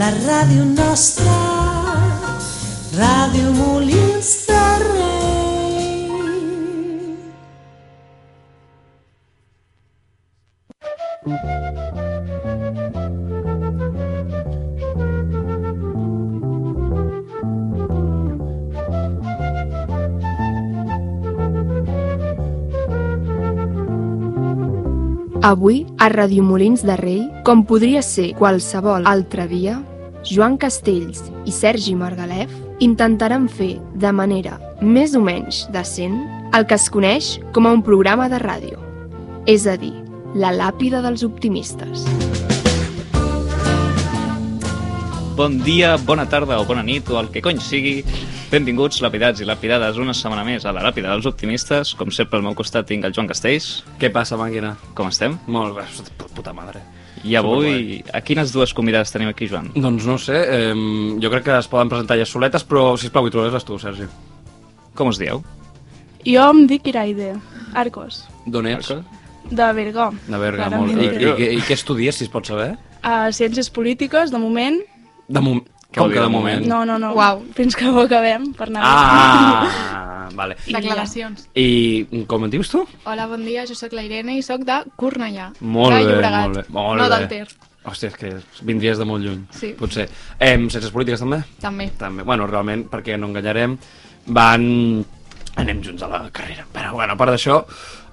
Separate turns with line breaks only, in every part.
la ràdio nostra, Ràdio Molins de Rei.
Avui, a Radio Molins de Rei, com podria ser qualsevol altre dia, Joan Castells i Sergi Margalef intentaran fer, de manera més o menys decent, el que es coneix com a un programa de ràdio, és a dir, la làpida dels optimistes.
Bon dia, bona tarda o bona nit o el que cony sigui. Benvinguts, lapidats i lapidades, una setmana més a la Làpida dels Optimistes. Com sempre, al meu costat tinc el Joan Castells.
Què passa, màquina?
Com estem?
Molt bé, pu- puta madre.
I avui, a quines dues convidades tenim aquí, Joan?
Doncs no ho sé, eh, jo crec que es poden presentar ja soletes, però sisplau, hi trobaràs tu, Sergi.
Com us dieu?
Jo em dic Iraide Arcos,
D'on ets?
Marco?
de Berga.
De Berga, molt
Clarament
bé. I,
de
i,
Berga.
i, I què estudies, si es pot saber?
A Ciències Polítiques, de moment.
De moment...
Què vol dir, de moment?
No, no, no.
Uau.
Fins que ho acabem, per anar
Ah, vale.
Declaracions.
I com et dius tu?
Hola, bon dia, jo sóc la Irene i sóc de Cornellà.
Molt
de
bé,
Llobregat,
molt bé. Molt
no
bé.
del Ter,
Hòstia, és que vindries de molt lluny,
Sí.
potser. Eh, sense polítiques, també?
també.
també. Bueno, realment, perquè no enganyarem, van... Anem junts a la carrera. Però, bueno, a part d'això,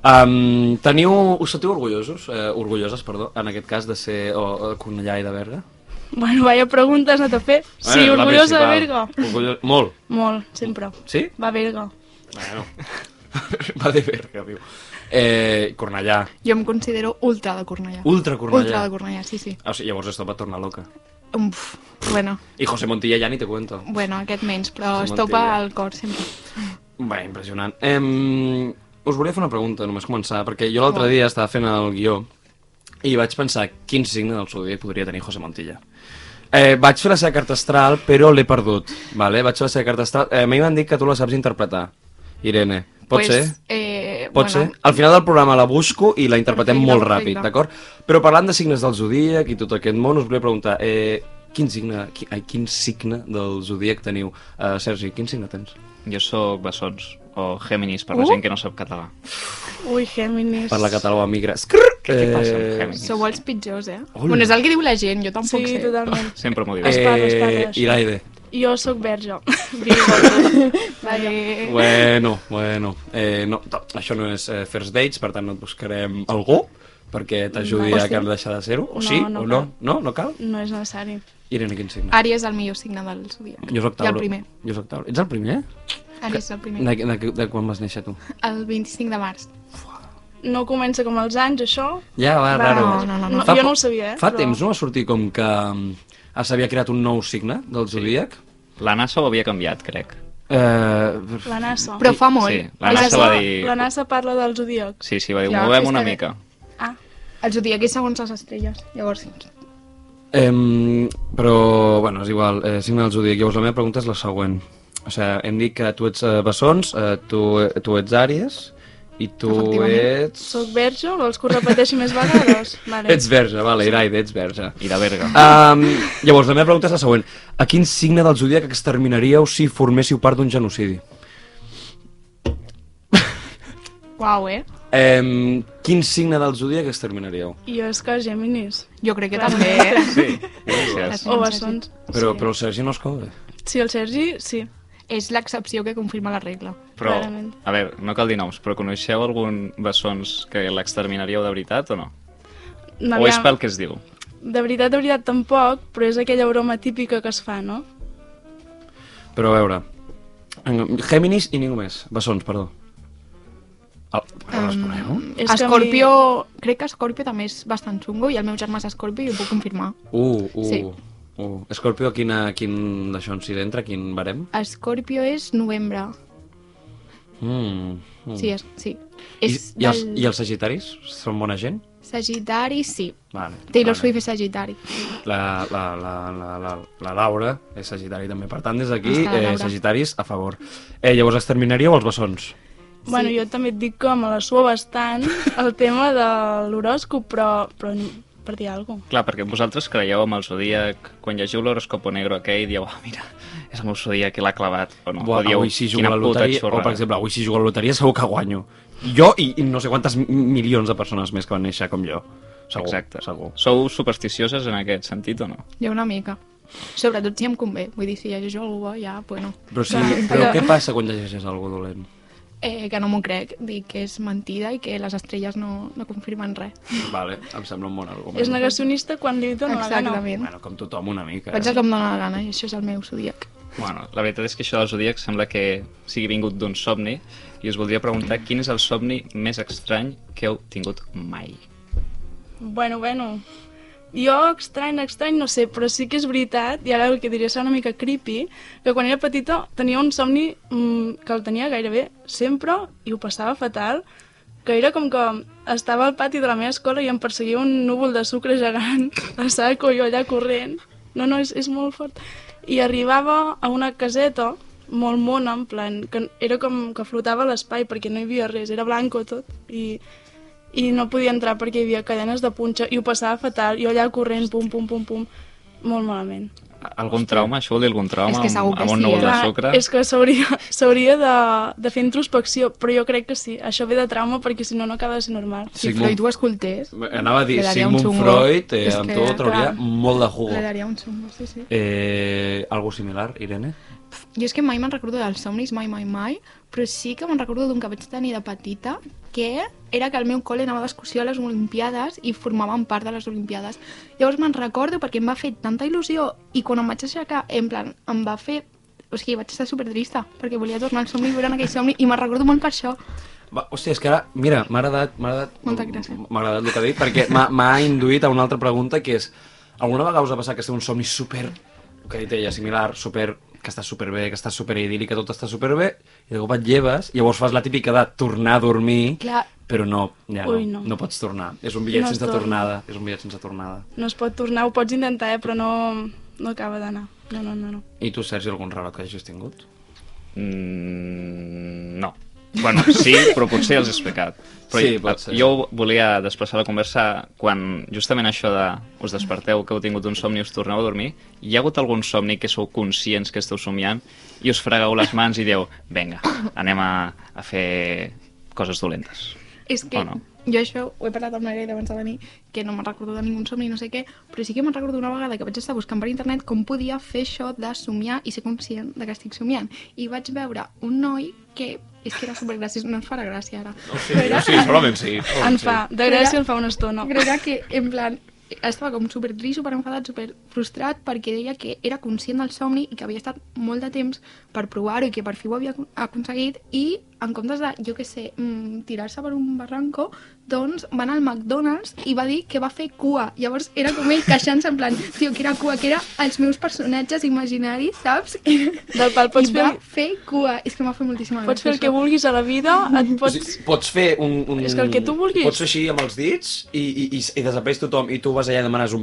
um, teniu... Us sentiu orgullosos, eh, orgulloses, perdó, en aquest cas, de ser o, o de Cornellà i de Berga?
Bueno, vaya preguntes no t'ha fet. sí,
Bueno, la
orgullosa de Berga.
principal. Orgullo... Molt.
Molt, sempre.
Sí?
Va Berga.
Bueno. Va de Berga, diu. Eh, Cornellà.
Jo em considero ultra de Cornellà.
Ultra Cornellà.
Ultra de Cornellà, sí, sí.
O sigui, Ah, llavors esto va tornar loca.
Uf, bueno,
I José Montilla ja ni te cuento.
bueno, aquest menys, però
És
es
mentida.
topa al cor sempre.
Bé, impressionant. Eh, us volia fer una pregunta, només començar, perquè jo l'altre
Molt.
dia estava fent el guió i vaig pensar quin signe del zodiac podria tenir José Montilla. Eh, vaig fer la seva carta astral, però l'he perdut. Vale? Vaig fer la seva carta astral. Eh, a mi m'han dit que tu la saps interpretar, Irene. Pot
pues,
ser?
Eh,
Pot
bueno,
ser? Al final del programa la busco i la interpretem
Perfecte,
molt
perfecte.
ràpid, d'acord? Però parlant de signes del zodíac i tot aquest món, us volia preguntar, eh, quin signe, qui, ai, quin signe del zodíac teniu? Eh, Sergi, quin signe tens?
Jo sóc Bessons, o Géminis, per la
Uh.
gent que no sap català.
Ui, Géminis.
Parla català o emigra. Escrrr!
Què t'hi passa,
Eh,
Gemini?
Sou els pitjors, eh?
Hola.
Bueno, és el que diu la gent, jo
Sí,
tampoc sé.
totalment.
Sempre m'ho dius.
Es
Eh,
parla, es parla, això.
I l'aire.
Jo sóc verge. Virgo.
Vale.
Bueno, bueno. Eh, no, to- això no és eh, First Dates, per tant no et buscarem algú perquè t'ajudi
No.
a que deixar de ser-ho. O
No,
sí,
no
o no.
cal. Ah,
No, no cal?
No és necessari.
Irene, quin signe?
Àries és el millor signe del zodiac.
Jo soc
I
Tauro.
el primer.
Jo soc Tauro. Ets el primer?
Àries és el primer.
De, de, de quan vas néixer tu?
El 25 de març.
No comença com els anys, això.
Ja, va,
Va,
raro.
no, no, no, no.
Fa
Jo no
po-
ho sabia, eh,
Fa
però-
temps no va sortir com que mm, s'havia creat un nou signe del Zodíac?
La NASA ho havia canviat, crec.
Eh,
La NASA.
Però fa molt.
Sí, la NASA va dir...
la NASA parla del zodíac.
Sí, sí, va dir,
Ja,
movem
és
una
que-
mica.
Ah,
El zodiac és segons les estrelles. Llavors, sí.
Em, però, bueno, és igual, eh, signe del Zodíac. Llavors, la meva pregunta és la següent. O sigui, hem dit que tu ets eh, bessons, eh, tu, tu ets àries, i tu
Efectivament.
ets...
Soc verge, vols que ho repeteixi més vegades? Vale.
Ets verge, vale, Iraide, ets verge.
I de verga.
Um, llavors, la meva pregunta és la següent. A quin signe del Zodíac exterminaríeu si forméssiu part d'un genocidi?
Uau, eh?
Um, quin signe del Zodíac exterminaríeu?
Jo és que Géminis.
Jo crec que
Clar.
també, eh?
Sí, gràcies.
Sí,
O
en
bessons.
Però,
sí.
però el Sergi no es coure.
Sí, el Sergi, sí.
És l'excepció que confirma la regla.
Però,
Clarament.
a veure, no cal dir noms, però coneixeu algun bessons que l'exterminaríeu de veritat o no? O és
Aviam,
pel que es diu?
De veritat, de veritat, tampoc, però és aquella broma típica que es fa, no?
Però a veure, en- Géminis i ningú més. Bessons, perdó. Ah, um, responeu?
És que a mi-
Escorpio, crec que Escorpio també és bastant xungo i el meu germà és Escorpio i ho puc confirmar.
Uh, uh,
Sí.
uh. Escorpio, quina, quin d'això ens hi entra? Quin barem?
Escorpio és novembre.
Mm. mm.
Sí, és, sí.
I,
És
i, els,
del
I els sagitaris? Són bona gent?
Sagitari, sí.
Vale,
Taylor
vale.
Swift és Sagitari.
La, la, la, la, la, la Laura és sagitari també. Per tant, des d'aquí,
Està la
eh,
Laura.
sagitaris a favor. Eh, llavors, exterminaríeu els bessons?
Sí. Bueno, jo també et dic que me la sua bastant el tema de l'horòscop, però, però per dir alguna cosa.
Clar, perquè vosaltres creieu amb el zodíac, quan llegiu l'horoscopo negro aquell, dieu, ah, mira, és el meu zodíac i l'ha clavat, o no?
Buah,
o dieu,
avui si jugo a
quina
la
puta
loteria, o
xorrada.
per exemple, avui si jugo a la loteria segur que guanyo. Jo i, i no sé quantes mi- milions de persones més que van néixer com jo. Segur,
Exacte.
segur.
Sou supersticioses en aquest sentit o no?
Jo una mica. Sobretot si em convé. Vull dir, si llegeixo algú bo, ja, bueno.
Però, sí,
Clar.
però
Allò-
què passa quan llegeixes algo dolent?
Eh, que no m'ho crec. Dic que és mentida i que les estrelles no, no confirmen res.
Vale, em sembla un bon argument.
És negacionista quan li dona la gana.
Exactament.
Bueno, com tothom una mica. eh.
Vaig a com dóna la gana i això és el meu zodíac.
Bueno, la veritat és que això del Zodíac sembla que sigui vingut d'un somni i us voldria preguntar quin és el somni més estrany que heu tingut mai.
Bueno, bueno. Jo, estrany, estrany, no sé, però sí que és veritat, i ara el que diré serà una mica creepy, que quan era petita tenia un somni mm, que el tenia gairebé sempre i ho passava fatal, que era com que estava al pati de la meva escola i em perseguia un núvol de sucre gegant a saco i jo allà corrent. No, no, és, és molt fort. I arribava a una caseta molt mona, en plan, que era com que flotava a l'espai perquè no hi havia res, era blanco tot, i i no podia entrar perquè hi havia cadenes de punxa i ho passava fatal, jo allà corrent, pum, pum, pum, pum, molt malament.
Algun trauma? Això vol dir algun trauma
És que segur
amb,
que
amb un
sí,
núvol
eh?
de
Clar,
sucre?
és que s'hauria s'hauria de, de fer introspecció, però jo crec que sí, això ve de trauma perquè si no, no acaba de ser normal.
Si
Sigmund-
Freud ho escoltés...
Anava a dir,
li daria un
Sigmund
xungo.
Freud, eh,
És
amb
que,
tu trauria
clar,
molt de jugo.
Li daria un xungo, sí, sí.
Eh, algo similar, Irene?
Jo és que mai me'n recordo dels somnis, mai, mai, mai, però sí que me'n recordo d'un que vaig tenir de petita, que era que el meu col·le anava d'excursió a les Olimpiades i formaven part de les Olimpiades. Llavors me'n recordo perquè em va fer tanta il·lusió i quan em vaig aixecar, en plan, em va fer... O sigui, vaig estar supertrista perquè volia tornar al somni i veure en aquell somni i me'n recordo molt per això.
Va, hòstia, és que ara, mira, m'ha agradat... M'ha agradat,
Moltes gràcies.
M'ha agradat el que ha dit, perquè m'ha- m'ha induït a una altra pregunta, que és... Alguna vegada us ha passat que esteu un somni super... El que ha dit ella, similar, super que està superbé, que està super idíl·lic, que tot està superbé, i de cop et lleves, i llavors fas la típica de tornar a dormir,
Clar.
però no, ja
Ui,
no,
no.
no pots tornar. És un bitllet
No es
sense
torna.
tornada, és un bitllet sense tornada.
No es pot tornar, ho pots intentar, eh, però no, no acaba d'anar. No, no, no, no.
I tu, Sergi, algun relat que hagis tingut?
Mm, no. Bueno, sí, però potser ja els he explicat. Però
Sí,
jo-
pot ser.
jo volia desplaçar la conversa quan justament això de us desperteu, que heu tingut un somni i us torneu a dormir. Hi ha hagut algun somni que sou conscients que esteu somiant i us fregau les mans i dieu, vinga, anem a, a fer coses dolentes.
És que
O no?
jo això ho he parlat amb la Irene abans de venir, que no me'n recordo de ningú somni, no sé què, però sí que me'n recordo una vegada que vaig estar buscant per internet com podia fer això de somiar i ser conscient de que estic somiant. I vaig veure un noi que és que era supergraciós, no ens farà gràcia ara. No, sí, però era,
Sí, solament sí.
En fa, de gràcia el fa una estona.
però era que, en plan, estava com super trist, super enfadat, super frustrat perquè deia que era conscient del somni i que havia estat molt de temps per provar-ho i que per fi ho havia acon- aconseguit i en comptes de, jo que sé, mm, tirar-se per un barranco, doncs va anar al McDonald's i va dir que va fer cua. Llavors era com ell queixant-se en plan, tio, que era cua, que era els meus personatges imaginaris, saps?
Del pal pots
I
fer,
va fer cua. És que m'ha fet moltíssima
pots fer el que
això.
vulguis a la vida, et
Pots...
pots...
pots fer un, un...
És que el que tu vulguis.
Pots fer així amb els dits i, i, i, i desapareix tothom i tu vas allà i demanes un,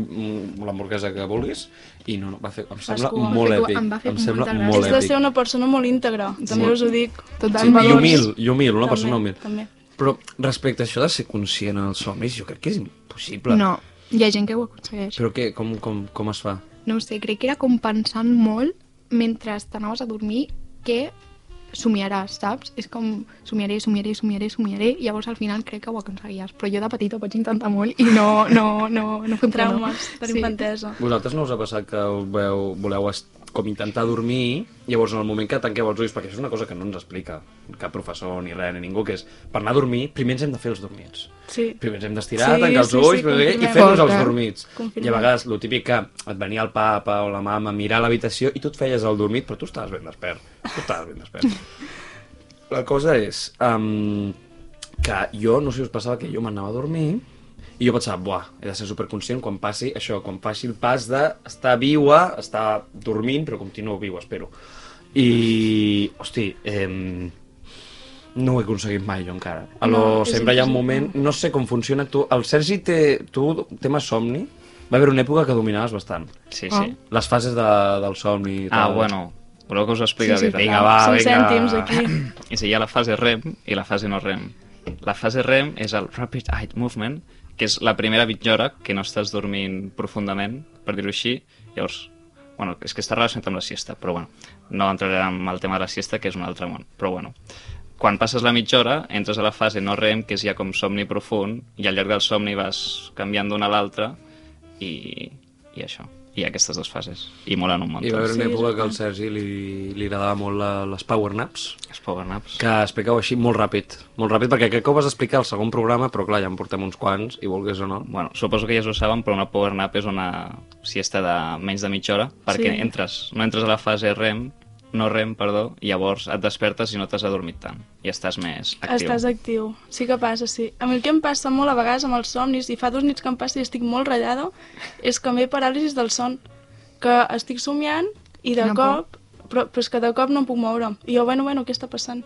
un l'hamburguesa que vulguis i no, no, va fer... Em sembla
cua.
molt
Em va
èpic.
fer cua, em va fer
Em sembla
molta gràcia.
molt
Has de ser
èpic.
una persona molt íntegra, també
Sí.
us ho dic.
Sí,
Totalment.
I
Valors.
humil, i humil, una
També,
persona humil.
també.
Però respecte a això de ser conscient en els somnis, jo crec que és impossible.
No, hi ha gent que ho aconsegueix.
Però què, com, com, com es fa?
no ho sé, crec que era com pensant molt mentre t'anaves a dormir que somiaràs, saps? És com somiaré, somiaré, somiaré, somiaré, i llavors al final crec que ho aconseguies. Però jo de petita ho vaig intentar molt i no, no, no, no fem
Traumes per infantesa.
Vosaltres no us ha passat que veu, voleu est- com intentar dormir, llavors en el moment que tanqueu els ulls, perquè això és una cosa que no ens explica cap professor ni res ni ningú, que és per anar a dormir, primer ens hem de fer els dormits.
Sí.
Primer ens hem d'estirar,
Sí,
sí, tancar els
sí, sí,
ulls, sí, sí, i
confirmem.
fer-nos els
Porta.
dormits.
Confirmem.
I a vegades, el típic que et venia el papa o la mama a mirar a l'habitació i tu et feies el dormit, però tu estaves ben despert. Tu estaves ben despert. La cosa és um, que jo, no sé si us passava, que jo m'anava a dormir i jo pensava, buah, he de ser superconscient quan passi això, quan faci el pas d'estar viua, estar dormint, però continuo viu, espero. I, hosti, eh, no ho he aconseguit mai jo encara. A lo,
No,
no,
és
sempre hi ha un moment...
impossible.
No sé com funciona tu. El Sergi té... Tu, tema somni, va haver una època que dominaves bastant.
Sí, sí.
Les fases de, del somni i
Ah,
tal.
bueno, voleu que us ho expliqui?
Sí,
la
sí,
veritat?
Vinga, va,
Són
vinga.
cèntims aquí.
És a dir, hi ha la fase REM i la fase no REM. La fase REM és el Rapid Eye Movement, que és la primera mitja hora que no estàs dormint profundament, per dir-ho així. Llavors, bueno, és que està relacionat amb la siesta, però bueno, no entraré en el tema de la siesta, que és un altre món, però bueno. Quan passes la mitja hora, entres a la fase no REM, que és ja com somni profund, i al llarg del somni vas canviant d'una a l'altra, i, i això. I aquestes dues fases. I molen un munt.
Hi va haver
Sí,
una
és
època que al
veritat.
Sergi li, li agradava molt la, les power naps,
Els power naps.
que explicau així molt ràpid, molt ràpid, perquè crec que ho vas explicar al segon programa, però clar, ja en portem uns quants, i vulguis o no.
Bueno, suposo que ja ho saben, però una power nap és una siesta de menys de mitja hora, perquè
Sí.
entres, no entres a la fase REM, no REM, perdó, i llavors et despertes i no t'has adormit tant, i estàs més actiu.
Estàs actiu. Sí que passa, sí. A mi el que em passa molt a vegades amb els somnis, i fa dues nits que em passa i estic molt ratllada, és que m'he paràlisis del son, que estic somiant i de
Quina por.
cop, però, però és que de cop no em puc moure. I jo, bueno, bueno, què està passant?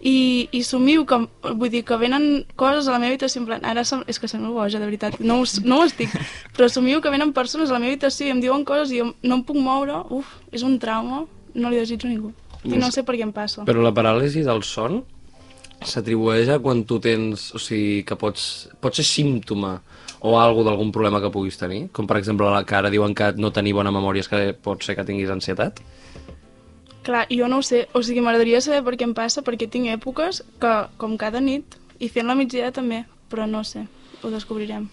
I, i somio que, em- vull dir, que venen coses a la meva habitació, en plan, ara som, és que semblo boja, de veritat, no ho, s- no ho estic, però somio que venen persones a la meva habitació i em diuen coses i jo no em puc moure, uf, és un trauma, no li desitjo a ningú. I no sé per què em passa.
Però la paràlisi del son s'atribueix a quan tu tens, o sigui, que pots, pot ser símptoma o algo d'algun problema que puguis tenir, com per exemple la que ara diuen que no tenir bona memòria és que pot ser que tinguis ansietat.
Clar, jo no ho sé, o sigui, m'agradaria saber per què em passa, perquè tinc èpoques que, com cada nit, i fent la migdia també, però no sé, ho descobrirem.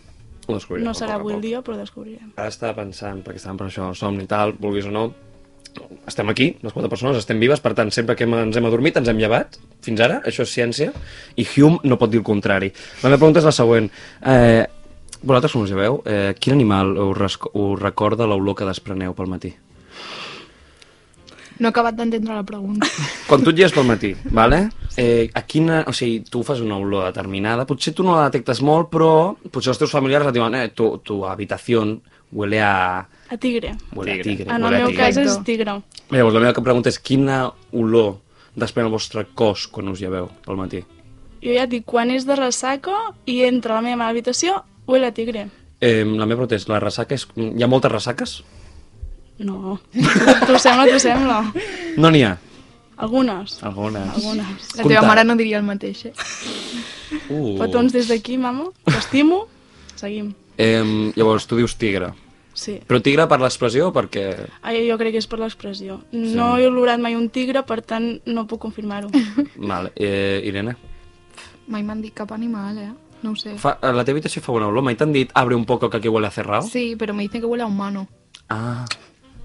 Ho descobrirem
No
a poc
serà
a
avui el
poc.
dia, però ho descobrirem.
Ara estava pensant, perquè estàvem per això, somni i tal, vulguis o no, estem aquí, les quatre persones, estem vives, per tant, sempre que hem- ens hem adormit ens hem llevat, fins ara, això és ciència, i Hume no pot dir el contrari. La meva pregunta és la següent. Eh, vosaltres com us lleveu? Eh, quin animal us, resco- us recorda l'olor que despreneu pel matí?
No he acabat d'entendre la pregunta.
Quan tu et lleves pel matí, vale? eh, a quina, o sigui, tu fas una olor determinada, potser tu no la detectes molt, però potser els teus familiars et diuen eh, tu, tu habitació huele a...
A tigre.
Huele a
Tigre.
tigre.
En el
huele a
meu
tigre.
cas és
Perfecte.
tigre.
Llavors, la meva pregunta és quina olor desprèn el vostre cos quan us lleveu al matí?
Jo ja et dic, quan és de ressaca i entra a la meva habitació, huele a tigre.
Eh, la meva pregunta és, la ressaca és... Hi ha moltes ressaques?
No. T'ho sembla, t'ho sembla.
No n'hi ha.
Algunes.
Algunes.
Algunes.
La teva mare no diria el mateix, eh?
Uh.
Petons des d'aquí, mama. T'estimo. Seguim.
Eh, llavors, tu dius tigre.
Sí.
Però tigre per l'expressió o perquè...
Ai, jo crec que és per l'expressió. No he olorat mai un tigre, per tant, no puc confirmar-ho.
Vale. Eh, Irene,
Mai m'han dit cap animal, eh? No ho sé.
fa, a la teva habitació fa bona olor. Mai t'han dit abre un poco que aquí huele a cerrado?
Sí, però me dicen que huele a humano.
Ah,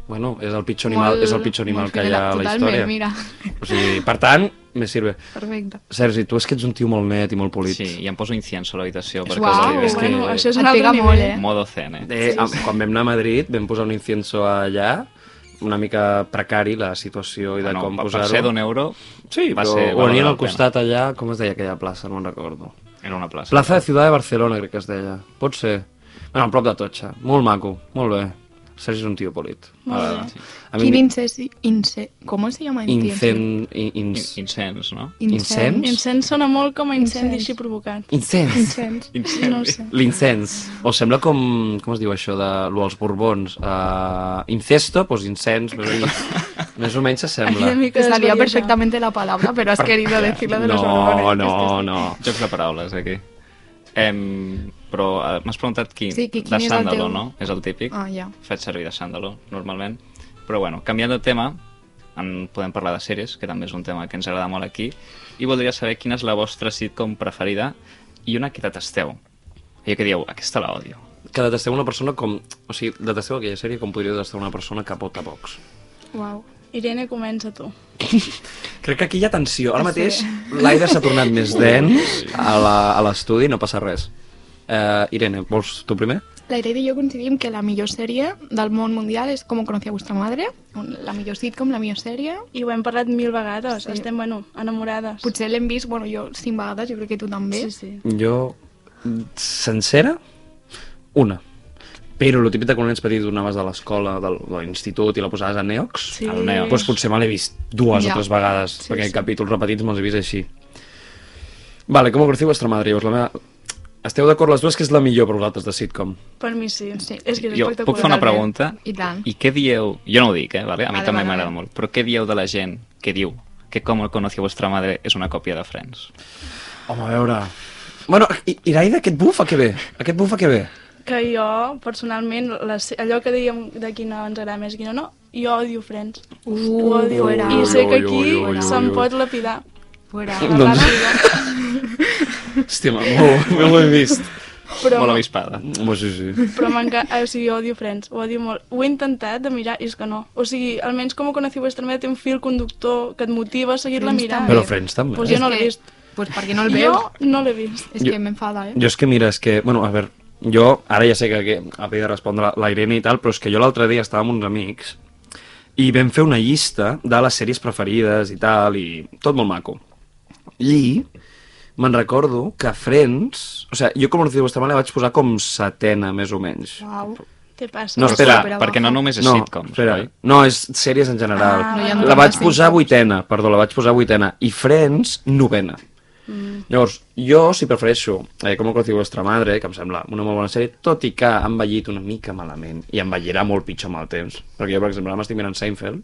bueno, és el pitjor animal,
Molt-
és el pitjor animal
molt
que hi ha a la
totalment,
història.
mira.
O sigui, per tant, me sirve.
Perfecte.
Sergi, tu és que ets un tio molt net i molt polit.
Sí, i em poso incienso a l'habitació, perquè
Uau,
us
és
arribi.
que-
Bueno, això és
Et
un altre
pega
nivell.
molt, eh?
Modo zen, eh?
Eh, sí, sí. Quan vam anar a Madrid vam posar un incienso allà, una mica precari la situació i de
Bueno,
com
Ah, per- per
posar-ho.
ser d'un euro,
Sí,
va
però
ser-
ho
va valdre
venien al
la pena.
costat allà, com es deia aquella plaça, no me'n recordo.
era una plaça.
Plaça de Ciutat de Barcelona, crec que es deia. Pot ser. Bueno, a prop de Totxa. Molt maco, molt bé. Sergi és un tio polit.
Ah,
Molt bé.
M'agrada. A
Quin
mi...
incensi... Ince... ¿Cómo se llama?
Incen... in-
In-
ins-
Incens, no?
Incens?
eh? Incens sona molt com a incendi
Incens.
així provocat.
Incens.
Incens.
No ho sé.
L'incens. O sembla com... Com es diu això de... Lo, els borbons. Uh, incesto, doncs incens. Més o menys, més o menys s'assembla.
Una mica
Te salía
desvariada.
perfectamente la palabra, pero has querido decirlo de los
No,
olores.
no, no.
Jocs de paraules, eh, aquí. Em, però eh, m'has preguntat qui?
Sí, qui- quin
de
és el
Sàndalo,
teu?
no? És el típic.
Ah, ja.
faig servir de Sàndalo, normalment. Però bueno, canviant de tema, en podem parlar de sèries, que també és un tema que ens agrada molt aquí, i voldria saber quina és la vostra sitcom preferida i una que detesteu. Allò que dieu, aquesta la odio.
que detesteu una persona com... O sigui, detesteu aquella sèrie com podria detestar una persona que vota Vox.
Wow.
Irene, comença tu.
Crec que aquí hi ha tensió. Ara mateix l'aire s'ha tornat més dens a la- a l'estudi, no passa res. Uh, Irene, vols tu primer?
La Irene i jo coincidim que la millor sèrie del món mundial és Com conocí a vostra madre, un- la millor sitcom, la millor sèrie.
I ho hem parlat mil vegades,
Sí.
sí. estem, bueno, enamorades.
Potser l'hem vist, bueno, jo cinc vegades, jo crec que tu també.
Sí, sí.
Jo, sencera, una. Però lo típic de quan ets petit donaves de l'escola, del- de l'institut i la posaves a Neox,
Sí.
Al Neo.
doncs potser me l'he vist dues
Ja.
o tres vegades, sí, perquè sí. capítols repetits me'ls he vist així. Vale, com ho coneixeu vostra madre? Llavors, la meva... Esteu d'acord les dues que és la millor per vosaltres de sitcom?
Per mi sí.
Sí.
És que és
Jo
espectacular.
puc fer una
Totalment.
pregunta?
I tant.
I què dieu? Jo no ho dic, eh? Vale? A mi
Vale,
també
vale,
m'agrada
vale.
molt. Però què dieu de la gent que diu que com conocí a vostra madre és una còpia de Friends?
Home, a veure... Bueno, i, Iraida, aquest bufa que ve? Aquest bufa que ve?
Que jo, personalment, les, allò que dèiem de quina ens agrada més, quina no, jo odio Friends.
Uh,
odio.
fuera.
I sé que
Ui, ui, ui,
aquí
ui,
se'n
ui.
pot lapidar.
Fuera.
La
Doncs-
ràpida.
Hòstia, ma, molt, molt ho he vist.
Però,
Molt avispada.
Bueno, sí, sí.
però m'encanta, o sigui, odio Friends, ho odio molt. Ho he intentat de mirar i és que no. O sigui, almenys com conocí vuestra mare té un fil conductor que et motiva a seguir-la
Friends
mirant.
també.
Però Friends també.
Pues jo no l'he vist.
Eh, Pues perquè no el
Jo
veus.
no l'he vist.
És
Jo-
que m'enfada, eh?
Jo és que, mira, és que... Bueno, a veure, jo ara ja sé que, que havia de respondre la- la Irene i tal, però és que jo l'altre dia estava amb uns amics i vam fer una llista de les sèries preferides i tal, i tot molt maco. I me'n recordo que Friends... O sigui, jo com a Rocío Bustamante la vaig posar com setena, més o menys.
Uau.
Què passa?
No,
Però
espera.
clar, perquè no només és
no,
sitcoms,
espera,
oi?
no, és sèries en general.
Ah,
No hi ha
la vaig
tantes
posar
sitcoms.
vuitena, perdó, la vaig posar vuitena. I Friends, novena. Mm. Llavors, jo, si prefereixo eh, Com ho conociu vostra madre, que em sembla una molt bona sèrie, tot i que ha envellit una mica malament i envellirà molt pitjor amb el temps. Perquè jo, per exemple, ara m'estic mirant Seinfeld,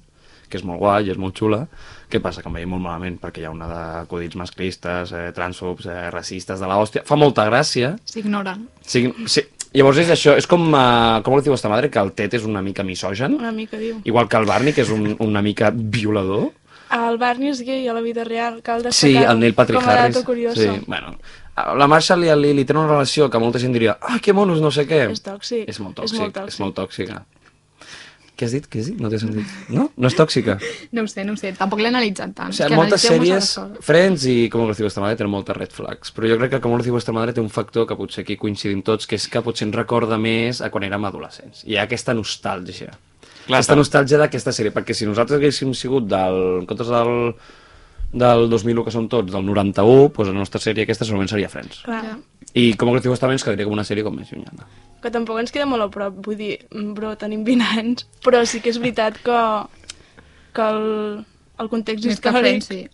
que és molt guai, és molt xula. Què passa? Que envellit molt malament perquè hi ha una d'acudits masclistes, eh, transfobs, eh, racistes de la hòstia. Fa molta gràcia,
S'ignora.
Sí, sí. Llavors és això, és com, uh, com ho diu vostra madre, que el Tet és una mica misogen,
Una mica, diu.
igual que el Barney, que és un, una mica violador.
El Barney és gay a la vida real, cal
Sí,
destacar.
el Neil Patrick
com a
Harris.
dato curioso.
Sí, bueno. La Marshall i el Lily tenen una relació que molta gent diria ah, que monos, no sé què.
És tòxic.
És molt
És
tòxic.
molt tòxic.
És molt tòxica. Què has dit? Què has dit? No t'he sentit. No? No és tòxica.
No ho sé, no ho sé. Tampoc l'he analitzat tant.
O sigui,
Que
moltes
analitzeu
sèries,
moltes coses.
Friends i Com ho diu vostra madre, tenen moltes red flags. Però jo crec que Com ho diu vostra madre té un factor que potser aquí coincidim tots, que és que potser ens recorda més a quan érem adolescents. Hi ha aquesta nostàlgia.
Clar,
Clar, aquesta
clar.
nostàlgia d'aquesta sèrie, perquè si nosaltres haguéssim sigut del, en comptes del, del 2001, que som tots, del 91, doncs la nostra sèrie aquesta segurament seria Friends.
Clar,
Ja.
I Com ho diu vostra madre ens quedaria com una sèrie com més llunyana.
que tampoc ens queda molt a prop, vull dir, bro, tenim 20 anys, però sí que és veritat que, que el, el context
Més que
històric
Friends, sí.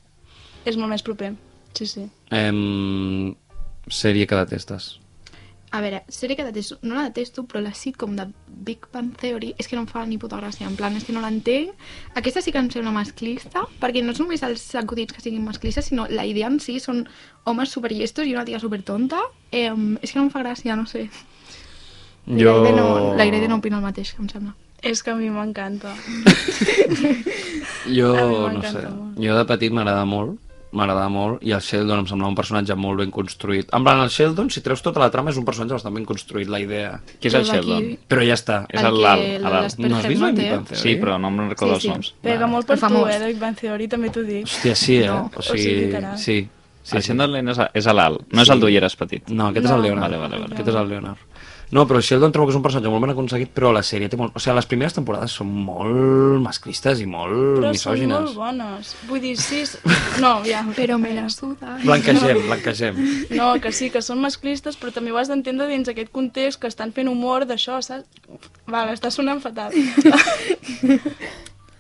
és molt més proper. Sí, sí.
Em... Sèrie que detestes.
A veure, sèrie que detesto, no la detesto, però la sitcom de Big Bang Theory és que no em fa ni puta gràcia, en plan, és que no l'entenc. Aquesta sí que em sembla masclista, perquè no és només els acudits que siguin masclistes, sinó la idea en si són homes superllestos i una tia supertonta. Eh, és que no em fa gràcia, no sé.
Jo...
La Irene no, la Irene no opina el mateix, em sembla.
És que a mi m'encanta. A mi
Jo, no
m'encanta
sé,
molt.
jo de petit m'agradava molt, m'agradava molt, i el Sheldon em semblava un personatge molt ben construït. En plan, el Sheldon, si treus tota la trama, és un personatge bastant ben construït, la idea.
Qui és el
Però aquí-
Sheldon?
Però ja està.
És
Ah,
El
el
que
Lal,
el-
el Lal.
les-
No has vist
Perfect
Big
Mateo.
Bang Theory?
Sí, però no me'n recordo
Sí, sí.
els noms.
Pega molt per
El
tu,
famós.
eh, Big Bang Theory, també t'ho dic.
Hòstia, sí, eh?
No,
o
o
sigui,
sigui, literal.
sí.
Sí, el
sí.
Shenderland és, a- és a l'alt, Ah, no és el d'Ulleres petit.
No, aquest és el
No.
Leonard.
Vale, vale, vale.
Aquest és el Leonard. No, però Sheldon trobo que és un personatge molt ben aconseguit, però la sèrie té molt... O sigui, les primeres temporades són molt masclistes i molt
Però són molt
misògines.
bones. Vull dir, sí... s- No, ja.
Però me la suda.
Blanquegem, blanquegem.
No, que sí, que són masclistes, però també ho has d'entendre dins aquest context que estan fent humor d'això, saps? Val, està sonant fatal.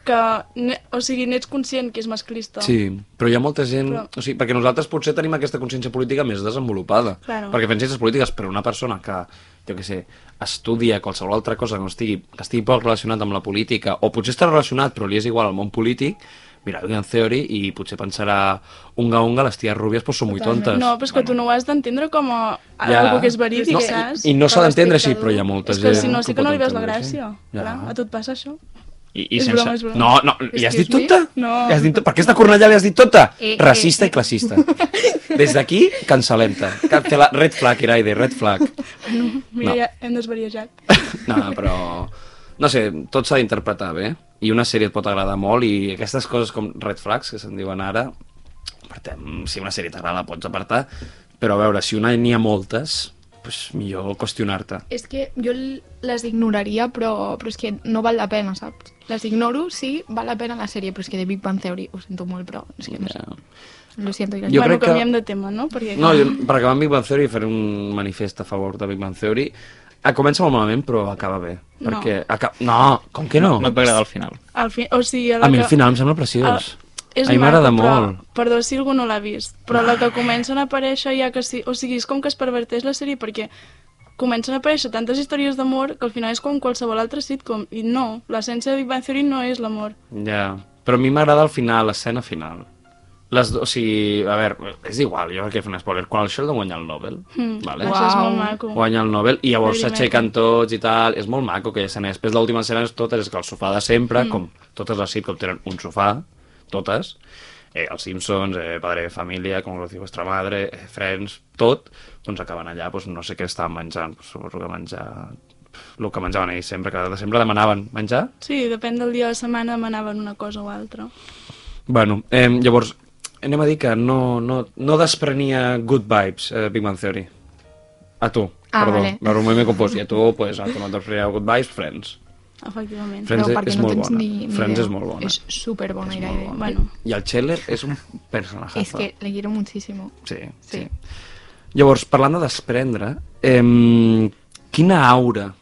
que, ne, o sigui, n'ets conscient que és masclista.
Sí, però hi ha molta gent...
Però-
O sigui, perquè nosaltres potser tenim aquesta consciència política més desenvolupada.
Claro.
Perquè fem ciències polítiques, però una persona que, jo què sé, estudia qualsevol altra cosa que, no estigui, que estigui poc relacionat amb la política, o potser està relacionat però li és igual al món polític, mira, en Theory, i potser pensarà unga unga, les ties rúbies pues, són molt tontes.
No, però és que tu no ho has d'entendre com a ja. algo que és verídic,
no,
saps?
I, i no s'ha
Per
d'entendre així,
l'espectador.
però hi ha molta
és que
gent
si no, sí que
pot
no li veus la
entendre-ho així.
gràcia. Ja. Clar, a tu et passa això?
I, i
és
sense...
broma, és broma.
No, no, li has
Excuse
dit
me?
tota?
No.
Li has dit, to- per què esta Cornellà li has dit tota?
Eh, eh,
Racista i
eh.
classista. Des d'aquí, cancel·lem-te. Cancela- Red flag, Iraide, red flag.
Mira,
No.
no. ja hem desvariejat.
No, però... No sé, tot s'ha d'interpretar bé. I una sèrie et pot agradar molt i aquestes coses com red flags, que se'n diuen ara, apartem, si una sèrie t'agrada la pots apartar, però a veure, si una n'hi ha moltes, doncs millor qüestionar-te.
És que jo l- les ignoraria, però, però és que no val la pena, saps? Les ignoro, sí, val la pena la sèrie, però és que de Big Bang Theory ho sento molt, però és que no sé.
Ja.
Lo siento, Irene.
Jo
bueno,
crec que-
canviem de tema, no? Perquè
No, jo, per acabar amb Big Bang Theory faré un manifest a favor de Big Bang Theory. Ah, Comença molt malament, però acaba bé.
No.
Perquè no. Aca... no, com que no?
No et va agradar el final.
Al fi... o sigui, la
A mi
que- Ah,
el final em sembla preciós.
és
a mi
maco,
m'agrada
però-
molt. Ah.
Perdó si algú no l'ha vist, però la que comencen a aparèixer ja que sí... O sigui, és com que es perverteix la sèrie perquè comencen a aparèixer tantes històries d'amor que al final és com qualsevol altre sitcom. I no, l'essència de Big Bang Theory no és l'amor.
Ja. Però a mi m'agrada el final, l'escena final. Les, do- o sigui, a veure, és igual, jo crec que he fet un spoiler. Quan el Sheldon guanya el Nobel,
Mm,
vale?
Això és
Uau.
molt maco.
guanya el Nobel i llavors
Lady Macbeth.
s'aixequen tots i tal, és molt maco que escena. Després l'última escena és totes, és que el sofà de sempre, mm. com totes les sitcom tenen un sofà, totes, eh, els Simpsons, eh, Padre de Família, Com conocí vostra madre, eh, Friends, tot, doncs acaben allà, doncs no sé què estaven menjant, doncs, suposo que menjar el que menjaven ells sempre, que de sempre demanaven menjar.
Sí, depèn del dia de la setmana demanaven una cosa o altra.
Bueno, eh, llavors, anem a dir que no, no, no desprenia good vibes eh, Big Bang Theory. A tu,
Ah,
perdó,
vale.
la Romeo me compos, i a tu, pues, a tu no et desprenia good vibes, Friends.
Efectivament.
Friends
però
és-
perquè
és
no
molt
tens
bona.
Ni, ni
Friends
idea.
és molt bona.
És superbona,
És
la
molt
idea.
bona.
Bueno,
I el Scheller és un personatge.
Es que le quiero muchísimo.
Sí, sí.
Sí.
Llavors, parlant de desprendre, eh, quina aura,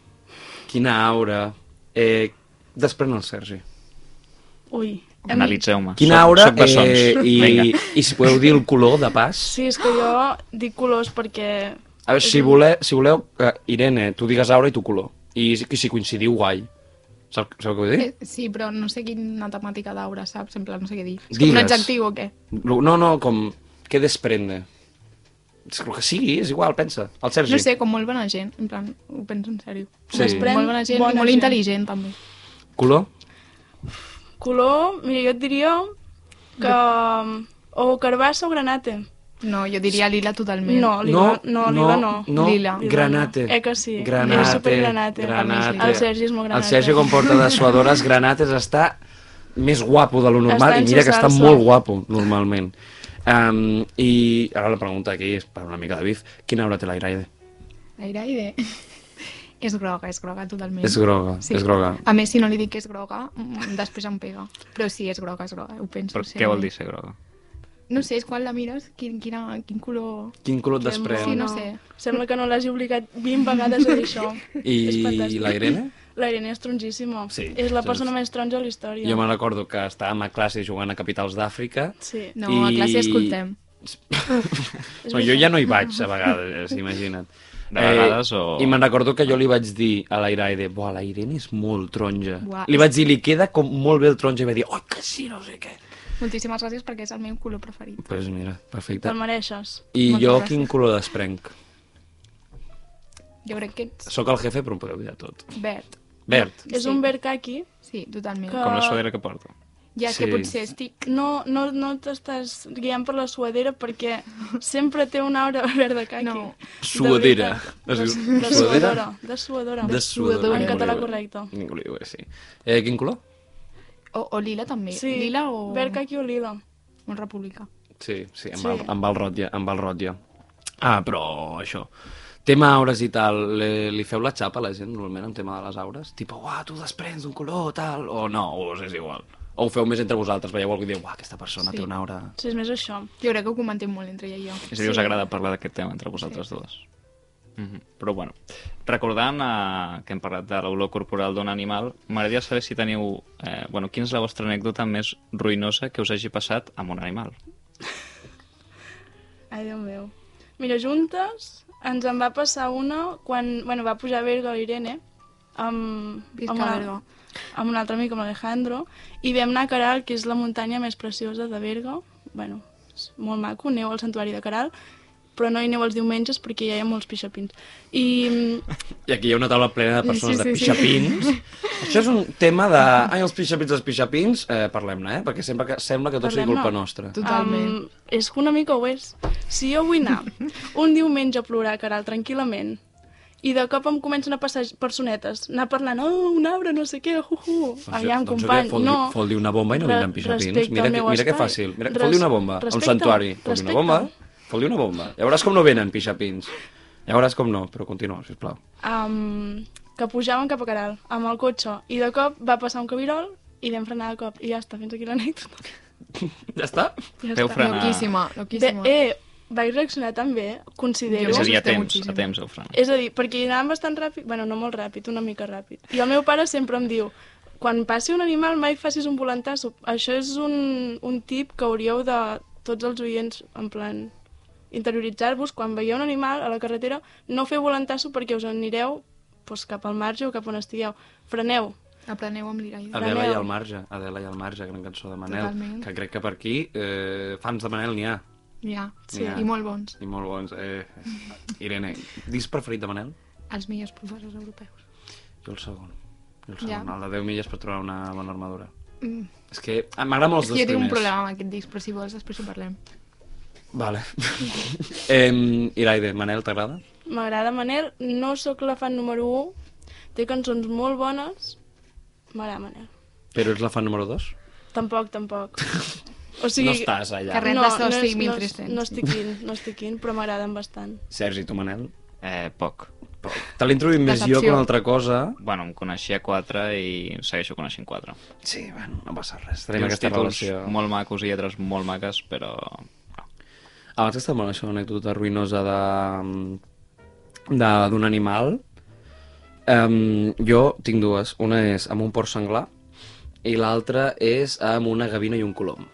quina aura eh, desprèn el Sergi?
ui. Em-
Analitzeu-me.
Quina
Soc-
aura
soc bessons.
eh, i,
Vinga.
i si podeu dir el color de pas?
Sí, és que jo dic colors perquè...
A veure, si voleu, si voleu eh, Irene, tu digues aura i tu color. I si, si coincidiu, guai. Saps, saps què vull dir?
Eh, sí, però no sé quina temàtica d'aura, saps? En plan, no sé què dir. És com un
Digues.
adjectiu o què?
No, no, com... Què desprende? És el que sigui, és igual, pensa. El Sergi.
No sé, com molt bona gent. En plan, ho penso en sèrio.
Sí. Doncs Desprèn
Molt bona gent
bona
i molt
gent.
intel·ligent, també.
Color?
Color, mira, jo et diria que... O carbassa o granate.
No, jo diria lila totalment.
No, lila no. lila no.
no.
Lila.
Lila. Granate.
Eh que sí?
Granate.
És supergranate.
granate.
El Sergi és molt granate.
El Sergi, com porta dessuadores, granates, està més guapo de lo normal.
Està
I mira que està
ensuçant-se.
molt guapo, normalment. Um, I ara la pregunta aquí és per una mica de bif. Quina aura té l'Airaide?
L'aire és groga, és groga totalment.
És groga, és groga.
A més, si no li dic que és groga, mm, després em pega. Però sí, és groga, és groga, ho penso.
Però què
seriament.
vol dir ser groga?
No sé, és quan la mires, quin, quina, quin color...
Quin color et
Que
desprèn?
molt-
Sí, no sé.
Sembla que no l'hagi obligat 20 vegades a dir això. És
I
fantàstic.
la Irene?
La Irene és trongíssima.
Sí,
és la
sí,
persona
és-
més taronja de la història.
Jo me'n recordo que estàvem a classe jugant a Capitals d'Àfrica.
Sí.
No, a classe escoltem.
No, jo ja no hi vaig, a vegades, imagina't. Eh,
De vegades o-
I me'n recordo que jo li vaig dir a la Iraide, buah, la Irene és molt taronja.
Buah,
li
és-
vaig dir, li queda com molt bé el taronja, i va dir, oi, que sí, no sé què.
Moltíssimes gràcies perquè és el meu color preferit.
Doncs pues mira, perfecte.
Te'l mereixes.
I
Moltes
jo
gràcies.
quin color desprenc?
Jo crec que ets
Sóc el jefe, però em podeu dir de tot.
verd.
Verd.
És
Sí.
un verd caqui.
Sí, totalment.
Que-
Com la suadera que porto.
Ja és que
Sí.
potser estic...
No, no, no t'estàs guiant per la suadera perquè sempre té una aura verda caqui.
No.
Suadera.
De,
Es
veritat.
diu
de, de
suadera?
suadora. De suadora.
Dessuador.
En català correcte.
Ningú li diu, sí. Eh, quin color?
O, o lila també.
Sí.
Lila o...
Verd caqui o lila.
o republicà.
Sí, sí, amb, sí.
Sí.
El, amb el rotlla, amb el rotlla. Ah, però això... Tema aures i tal, li, li feu la xapa a la gent, normalment, amb tema de les aures? Tipo, uah, tu desprens d'un color, tal, o no, o us és igual. O ho feu més entre vosaltres, veieu algú i diu, uah, aquesta persona sí.
Sí.
té una aura...
Si és més això.
Jo crec que ho comentem molt entre ella i jo.
És a dir, us agrada parlar d'aquest tema entre vosaltres dues. Mm -hmm. Però bueno, recordant eh, que hem parlat de l'olor corporal d'un animal, m'agradaria saber si teniu... Eh, bueno, quina és la vostra anècdota més ruïnosa que us hagi passat amb un animal?
Ai, Déu meu. Mira, juntes ens en va passar una quan bueno, va pujar a Berga la Irene amb,
Visca
amb,
Berga.
amb un altre amic, amb l'Alejandro, i vam anar a Caral, que és la muntanya més preciosa de Berga. bueno, és molt maco, aneu al santuari de Caral, però no hi aneu els diumenges perquè ja hi ha molts pixapins. I
I aquí hi ha una taula plena de persones
Sí,
sí,
sí,
sí, de
sí.
pixapins. Sí. Això és un tema de... Ai, els pixapins, els pixapins... Eh, Parlem-ne, eh? Perquè sembla que, sembla que tot sigui
Parlem-ne.
culpa nostra.
Totalment.
Em, és que una mica ho és. Si jo vull anar un diumenge a plorar, Caral, tranquil·lament, i de cop em comencen a passar personetes, anar parlant, oh, un arbre, no sé què, uh, uh. Aviam,
doncs,
company,
fol,
no.
Fol-li una bomba i no
Re-
vindran pixapins.
respecta
Mira,
el
que,
meu
mira que
espai.
fàcil. Mira,
Res-
fol-li una bomba a un
respecta'm,
santuari. Fol-li una
respecta'm.
bomba, fol-li una bomba. Ja veuràs com no venen pixapins. Ja veuràs com no, però continua, sisplau.
um, que pujaven cap a Caral amb el cotxe i de cop va passar un cabirol i vam frenar de cop i ja està, fins aquí l'anècdota.
Ja està?
Ja
Feu
està.
frenar.
Loquíssima,
Bé,
loquíssima.
eh, vaig reaccionar tan bé, considero.
és
Jo
a dir, a
m'assusteu
temps,
moltíssim.
a temps, Eufran.
És a dir, perquè hi anàvem bastant ràpid, bueno, no molt ràpid, una mica ràpid. I el meu pare sempre em diu, quan passi un animal mai facis un volantasso. Això és un, un tip que hauríeu de tots els oients, en plan, interioritzar-vos, quan veieu un animal a la carretera, no feu volantasso perquè us anireu doncs, cap al marge o cap on estigueu. Freneu.
Apreneu amb l'Iraida.
Adela i
Neu.
el marge, Adela i el marge, gran cançó de Manel,
Totalment.
que crec que per aquí eh, fans de Manel n'hi ha,
eh? Ja, sí.
Ja.
i molt bons.
i molt bons. Eh, Irene, disc preferit de Manel?
Els millors professors europeus.
Jo el segon. Jo el segon,
Ja.
el de 10 milles per trobar una bona armadura.
Mm.
És que ah, m'agraden molt
És
els
que
dos
jo tinc un
primers.
problema amb aquest disc, però si vols després ho parlem.
Vale. eh, Iraide, Manel, t'agrada?
M'agrada Manel, no sóc la fan número 1, té cançons molt bones, m'agrada Manel.
Però ets la fan número 2?
Tampoc, tampoc. O
Sí. No estàs allà.
Carrer. Renda soci,
és-
1.300.
No, no estic in, no estic in, però m'agraden bastant.
Sergi, tu, Manel?
Eh, poc.
Però Te l'he introduït més jo
Decepció.
que una altra cosa.
Bueno, em coneixia quatre i segueixo coneixent quatre.
Sí, bueno, no passa res.
Té
Tenim
uns
aquesta
títols
relació.
molt macos i lletres molt maques, però...
Abans que estava amb això, una anècdota ruïnosa de de- d'un animal, um, jo tinc dues. Una és amb un porc senglar i l'altra és amb una gavina i un colom.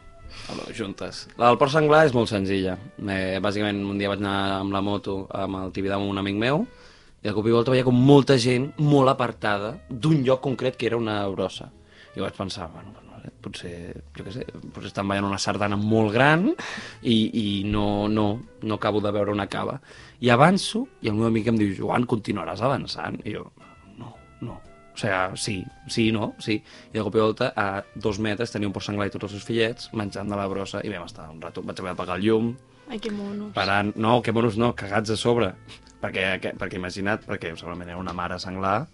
Allò, juntes. La del porc senglar és molt senzilla. Eh, bàsicament, un dia vaig anar amb la moto amb el Tibidabo amb un amic meu i de cop i volta veia com molta gent molt apartada d'un lloc concret que era una brossa. I vaig pensar, bueno, bueno, vale, potser, jo què sé, potser estan ballant una sardana molt gran i, i no, no, no acabo de veure una cava. I avanço i el meu amic em diu, Joan, continuaràs avançant? I jo, no, no. O sigui, sí, sí, no, sí. I de cop i volta, a dos metres, tenia un porc senglar i tots els seus fillets menjant de la brossa i vam estar un rato, vaig haver d'apagar el llum,
Ai, que mono.
parant, no, que monos no, cagats a sobre. Perquè, que, perquè imagina't, perquè segurament era una mare senglar,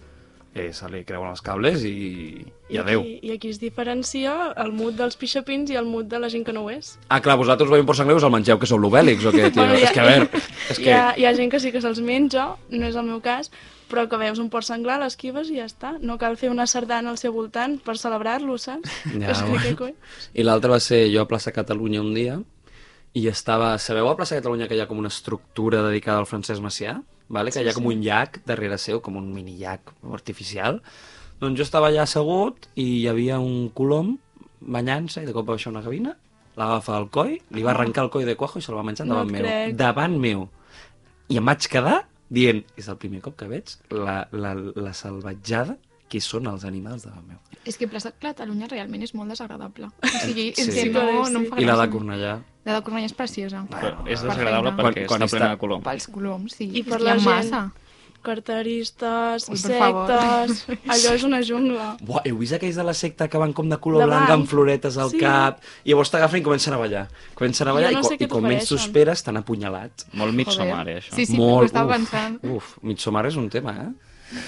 eh, se li creuen els cables i, i adeu.
Aquí, I aquí es diferencia el mut dels pixapins i el mut de la gent que no ho és.
Ah, clar, vosaltres veieu un porc senglar i us el mengeu, que sou l'obèlix o què, tio?
Bueno, hi ha-
és que, a veure, és que...
Hi ha, hi ha gent que sí que se'ls menja, no és el meu cas, però que veus un porc senglar, l'esquives i ja està. No cal fer una sardana al seu voltant per celebrar-lo, saps?
Ja,
és que,
bueno.
que coi.
I l'altre va ser jo a Plaça Catalunya un dia i estava... Sabeu a Plaça Catalunya que hi ha com una estructura dedicada al Francesc Macià? Vale? Que sí, hi ha com un llac darrere seu, com un mini llac artificial. Doncs jo estava allà assegut i hi havia un colom banyant-se i de cop va baixar una gavina, la va agafar al coll, li va arrencar el coll de cuajo i se'l va menjar
No
davant
et
meu.
crec.
Davant meu. I em vaig quedar dient, és el primer cop que veig la, la, la salvatjada que són els animals davant meu.
És que plaça Catalunya realment és molt desagradable. O sigui, és
Sí.
que no, no em fa
I la de
gràcia.
Cornellà,
La de Cornellà és preciosa.
Però és
Per
desagradable
feina.
perquè
Quan- quan
està plena
està-
de colom.
Pels coloms, sí.
I
És
per
que
la
hi ha
gent.
massa.
Carteristes,
Ui, per favor.
sectes... Allò és una jungla.
Buah, heu vist aquells de la secta que van com de color
De
blanc,
blanc.
amb floretes al
Sí.
sí. cap, i llavors t'agafen i comencen a ballar. Comencen a
Jo
ballar
no
i, co
sé què
i com menys
t'ofereixen.
t'ho esperes, t'han apunyalat.
Molt Midsommar,
Joder.
eh, això.
Sí, sí,
Molt,
ho estava
uf,
pensant.
Uf, Midsommar és un tema, eh?